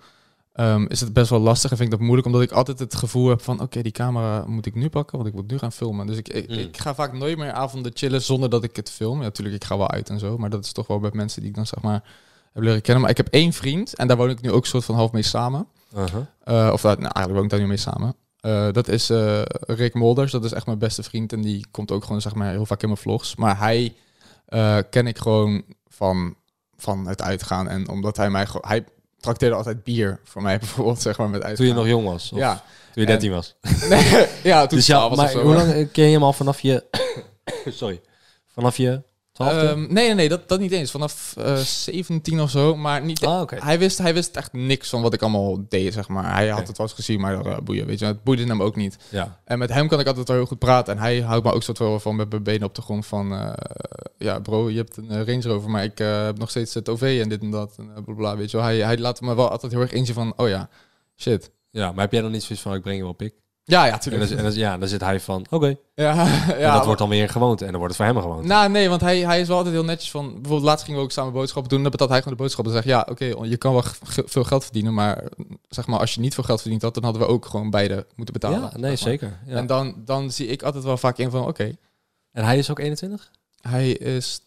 ehm, is het best wel lastig en vind ik dat moeilijk, omdat ik altijd het gevoel heb van, oké, die camera moet ik nu pakken, want ik moet nu gaan filmen. Dus ik, ik,
Mm.
ik ga vaak nooit meer avonden chillen zonder dat ik het film. Ja, natuurlijk, ik ga wel uit en zo, maar dat is toch wel bij mensen die ik dan zeg maar heb leren kennen. Maar ik heb één vriend en daar woon ik nu ook soort van half mee samen.
Uh-huh.
Eh, of daar, nou, eigenlijk woon ik daar nu mee samen. Eh, dat is eh, Rick Molders. Dat is echt mijn beste vriend. En die komt ook gewoon zeg maar, heel vaak in mijn vlogs. Maar hij eh, ken ik gewoon van, van het uitgaan. En omdat hij mij... gewoon- Hij trakteerde altijd bier voor mij bijvoorbeeld, zeg maar, met
Toen
uitgaan.
je nog jong was? Of
Ja.
Toen je 13 was?
Nee, ja, toen
Dus
ik
ja,
12 was of
maar
zo.
hoe lang eh, ken je hem al vanaf je... Sorry. Vanaf je twaalfde?
Ehm, nee, nee, nee, dat, dat niet eens. Vanaf eh 17 of zo, maar niet...
Ah, oké.
Hij, wist, hij wist echt niks van wat ik allemaal deed, zeg maar. Hij had het wel eens gezien, maar eh, boeien, weet je. Het boeide hem ook niet.
ja.
En met hem kan ik altijd wel heel goed praten. En hij houdt me ook soort wel van met mijn benen op de grond van... eh, ja, bro, je hebt een eh, Range Rover, maar ik eh, heb nog steeds het OV en dit en dat. En eh, bla, bla, weet je wel. Hij, hij laat me wel altijd heel erg inzien van... Oh ja, shit.
ja, maar heb jij dan niet zoiets van, ik breng je wel pik?
Ja, ja,
En
tuurlijk.
dan, en dan- ja, dan zit hij van, oké.
ja, ja,
en dat
maar-
wordt dan weer een gewoonte. En dan wordt het voor hem een gewoonte.
Nou, nee, want hij, hij is wel altijd heel netjes van... Bijvoorbeeld laatst gingen we ook samen boodschappen doen. Dan betaalt hij gewoon de boodschappen. Dan zeg ik, ja, oké, je kan wel ge- veel geld verdienen. Maar zeg maar, als je niet veel geld verdiend had... dan hadden we ook gewoon beide moeten betalen.
ja, nee,
zeg
zeker.
maar.
Ja.
En
En,
dan, dan zie ik altijd wel vaak in van... Oké,
hij is ook 21?
hij is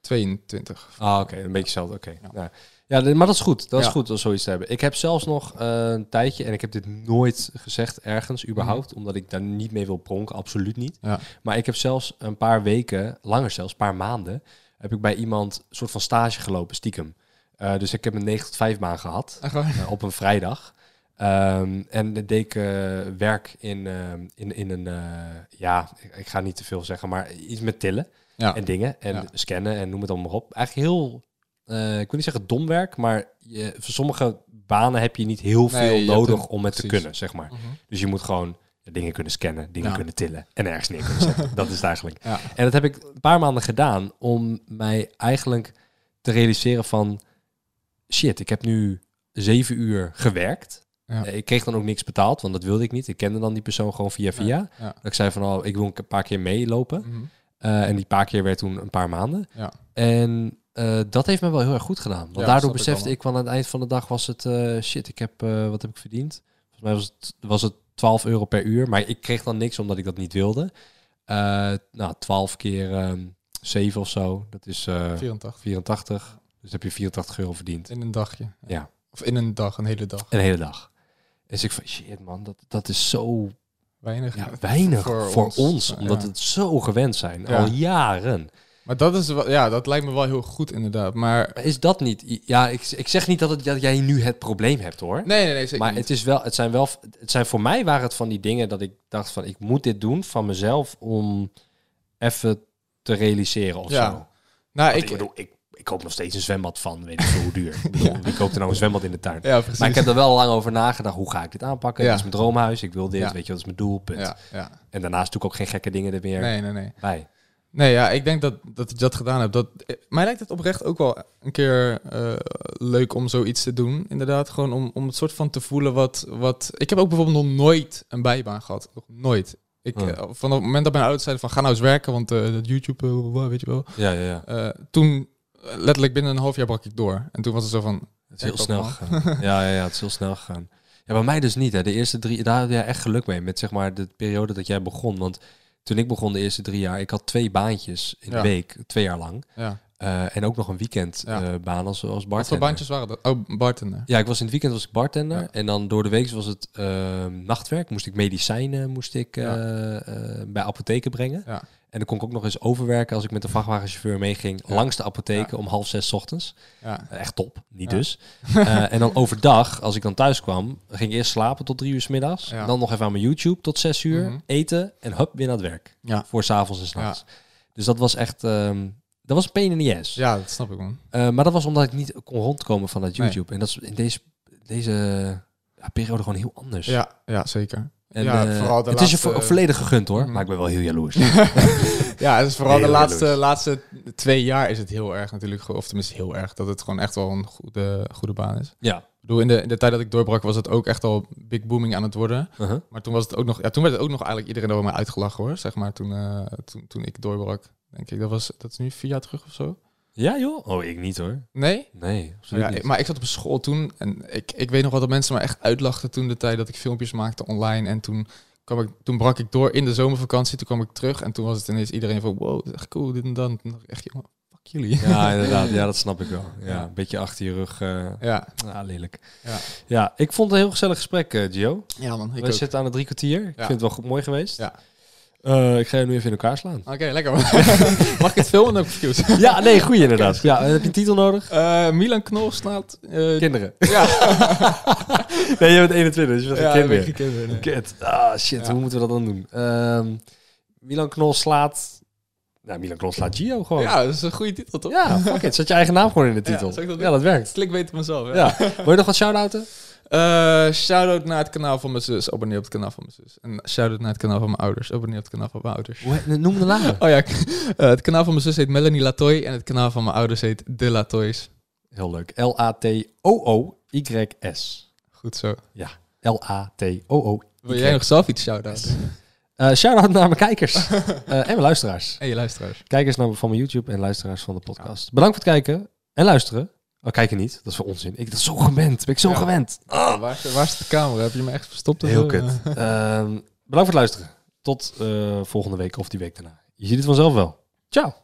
22.
Ah, oké. Een beetje hetzelfde. Oké. Ja. Nou, ja, nee, maar dat is goed. Dat is
Ja.
goed om zoiets te hebben. Ik heb zelfs nog eh, een tijdje, en ik heb dit nooit gezegd ergens, überhaupt, omdat ik daar niet mee wil pronken, absoluut niet.
Ja.
Maar ik heb zelfs een paar weken, langer zelfs, een paar maanden, heb ik bij iemand een soort van stage gelopen, stiekem. Eh, dus ik heb een 9 tot 5 baan gehad.
Echt waar?
eh, op een vrijdag. Ehm, en dan deed ik eh, werk in, ehm, in, in een, eh, ja, ik, ik ga niet te veel zeggen, maar iets met tillen
Ja.
en dingen en
Ja.
scannen en noem het allemaal maar op. Eigenlijk heel, eh, ik wil niet zeggen dom werk, maar je, voor sommige banen heb je niet heel veel
Nee, je hebt
nodig
een-
om het te
precies. Mhm.
kunnen, zeg maar. Dus je moet gewoon dingen kunnen scannen, dingen
Ja.
kunnen tillen en ergens neer kunnen zetten. dat is het eigenlijk.
Ja.
En dat heb ik een paar maanden gedaan om mij eigenlijk te realiseren van... shit, ik heb nu zeven uur gewerkt.
Ja.
Eh, Ik kreeg dan ook niks betaald, want dat wilde ik niet. Ik kende dan die persoon gewoon via via.
ja.
Dat ik zei van, oh, ik wil een paar keer meelopen.
Mhm.
Eh, en die paar keer werd toen een paar maanden.
Ja.
En eh, dat heeft me wel heel erg goed gedaan. Want
Ja,
daardoor
snap ik
besefte
allemaal.
ik, van aan het eind van de dag was het... eh, shit, ik heb, eh, wat heb ik verdiend? Volgens mij was het, was het 12 euro per uur. Maar ik kreeg dan niks omdat ik dat niet wilde. Eh, nou, 12 keer ehm 7 of zo. Dat is eh,
84.
84. Dus heb je 84 euro verdiend.
In een dagje.
Ja.
Of in een dag, een hele dag.
Een hele dag. Dus ik van, shit man, dat, dat is zo
Weinig.
ja, weinig voor, ons. omdat
Ja.
we het zo gewend zijn,
Ja.
al jaren.
Maar dat is wel, ja, dat lijkt me wel heel goed inderdaad. Maar
Maar is dat niet... i- Ja, ik, ik zeg niet dat, het, dat jij nu het probleem hebt hoor.
nee, nee, nee zeker
maar
niet.
het, is wel, het zijn wel... Het zijn voor mij waren het van die dingen dat ik dacht van... Ik moet dit doen van mezelf om even te realiseren of zo.
Ja. Nou,
Want ik,
ik,
bedoel, ik, ik koop nog steeds een zwembad van, weet ik veel hoe duur. Ik bedoel, Wie koopt er nou een zwembad in de tuin?
ja, precies.
Maar ik heb er wel lang over nagedacht. Hoe ga ik dit aanpakken?
Ja.
Dit is mijn droomhuis. Ik wil dit.
Ja.
Weet je, dat is mijn doelpunt.
ja, ja.
En daarnaast doe ik ook geen gekke dingen er meer
Nee, nee, nee.
bij.
Nee, ja, ik denk dat, dat ik dat gedaan heb. Dat, eh, mij lijkt het oprecht ook wel een keer eh, leuk om zoiets te doen. Inderdaad, gewoon om, om het soort van te voelen wat, wat... Ik heb ook bijvoorbeeld nog nooit een bijbaan gehad. Nog nooit. Ik,
Ja.
eh, van het moment dat mijn ouders zeiden van ga nou eens werken, want eh, dat YouTube, eh, bla, bla, weet je wel.
Ja, ja, ja.
Eh, toen, eh, letterlijk binnen een half jaar brak ik door. En toen was het zo van...
Het is heel snel gegaan. Ja, ja, ja, het is heel snel gegaan. Ja, bij mij dus niet. Hè. De eerste drie, daar had jij echt geluk mee. Met zeg maar de periode dat jij begon. Want toen ik begon de eerste drie jaar, ik had twee baantjes in de
Ja.
week, twee jaar lang.
Ja.
Eh, en ook nog een weekendbaan
Ja.
baan als, als
Wat voor
bartender.
baantjes waren dat? Oh, bartender.
Ja, ik was in het weekend was ik bartender.
Ja.
En dan door de week was het eh, nachtwerk. Moest ik medicijnen moest ik, eh, eh, bij apotheken brengen.
Ja.
En dan kon ik ook nog eens overwerken als ik met de vrachtwagenchauffeur meeging langs de apotheken om half zes 's ochtends.
Ja.
Echt top, niet dus. Eh, en dan overdag, als ik dan thuis kwam, ging ik eerst slapen tot drie uur 's middags.
Ja. Mhm.
Dan nog even aan mijn YouTube tot zes uur. Eten en hup, weer naar het werk.
Ja.
Voor s'avonds en s'nachts. Dus dat was echt... ehm, dat was een pain in the ass.
ja, dat snap ik man.
Eh, maar dat was omdat ik niet kon rondkomen van dat YouTube. En dat is in deze, deze ja, periode gewoon heel anders.
Ja, ja zeker.
En,
ja,
eh,
vooral de
het is je
laatste- Mhm.
vo- volledig gegund hoor, maar ik ben wel heel jaloers.
Ja, het is vooral de
Heel
laatste,
jaloers.
laatste twee jaar is het heel erg natuurlijk, ge- of tenminste heel erg, dat het gewoon echt wel een goede, goede baan is.
ja.
Ik bedoel, in de, in de tijd dat ik doorbrak was het ook echt al big booming aan het worden.
Uh-huh.
Maar toen, was het ook nog, ja, toen werd het ook nog eigenlijk iedereen over mij uitgelachen hoor, zeg maar, toen, eh, toen, toen ik doorbrak. Denk ik, dat, was, dat is nu vier jaar terug of zo.
Ja joh? Oh, ik niet hoor.
Nee?
Nee, absoluut
Ja,
niet.
maar ik zat op school toen en ik, ik weet nog wel dat mensen me echt uitlachten toen de tijd dat ik filmpjes maakte online. En toen, kwam ik, toen brak ik door in de zomervakantie, toen kwam ik terug en toen was het ineens iedereen van wow, dat is echt cool, dit en dan. Toen dacht ik echt, jongen, fuck jullie.
Ja, inderdaad. Ja, dat snap ik wel. Ja,
Ja.
Een beetje achter je rug. eh,
Ja,
ah, lelijk.
Ja.
Ja. ik vond het een heel gezellig gesprek, eh, Gio.
ja man.
We zitten aan de drie kwartier. Ik vind het wel goed, mooi geweest.
Ja.
Eh, ik ga je nu even in elkaar slaan.
Oké, lekker man. Mag ik het filmen? Dan heb ik views.
Ah. Ja, nee, goeie inderdaad. Ja, heb je een titel nodig?
Eh, Milan Knol slaat... eh,
Kinderen.
ja,
Nee, je bent 21, dus je bent
ja,
geen
kinderen.
kinderen. Kut. Ah, shit.
Ja.
Hoe moeten we dat dan doen? Ehm, Milan Knol slaat... Nou, Milan Knol slaat Gio gewoon. Ja,
Ja, dat is een goede titel toch?
fuck it. Zet je eigen naam gewoon in de titel.
zal ik
Ja,
dat
dat,
doen?
werkt.
Slik beter mezelf. Ja.
Ja. Wil je nog wat shout-outen?
Eh, shout-out naar het kanaal van mijn zus. Abonneer op het kanaal van mijn zus. En shout-out naar het kanaal van mijn ouders. Abonneer op het kanaal van mijn ouders.
Hoe he- Noem de namen.
Oh ja, ik- eh, het kanaal van mijn zus heet Melanie Latoy. En het kanaal van mijn ouders heet De Latoys.
Heel leuk. L-A-T-O-O-Y-S.
Goed zo.
Ja. L-A-T-O-O.
Wil jij nog zelf iets shout-out?
Eh shout-out naar mijn kijkers Eh, en mijn luisteraars.
En je luisteraars.
Kijkers naar, van mijn YouTube en luisteraars van de podcast. Bedankt voor het kijken en luisteren. Oh, kijken niet. Dat is voor onzin. Ik dat is zo gewend. Ben ik zo
Ja.
gewend. Ah.
Waar, is de- waar is de camera? Heb je me echt verstopt? of
Heel
zo?
kut.
Eh,
Ehm, bedankt voor het luisteren. Tot eh, volgende week of die week daarna. Je ziet het vanzelf wel. Ciao.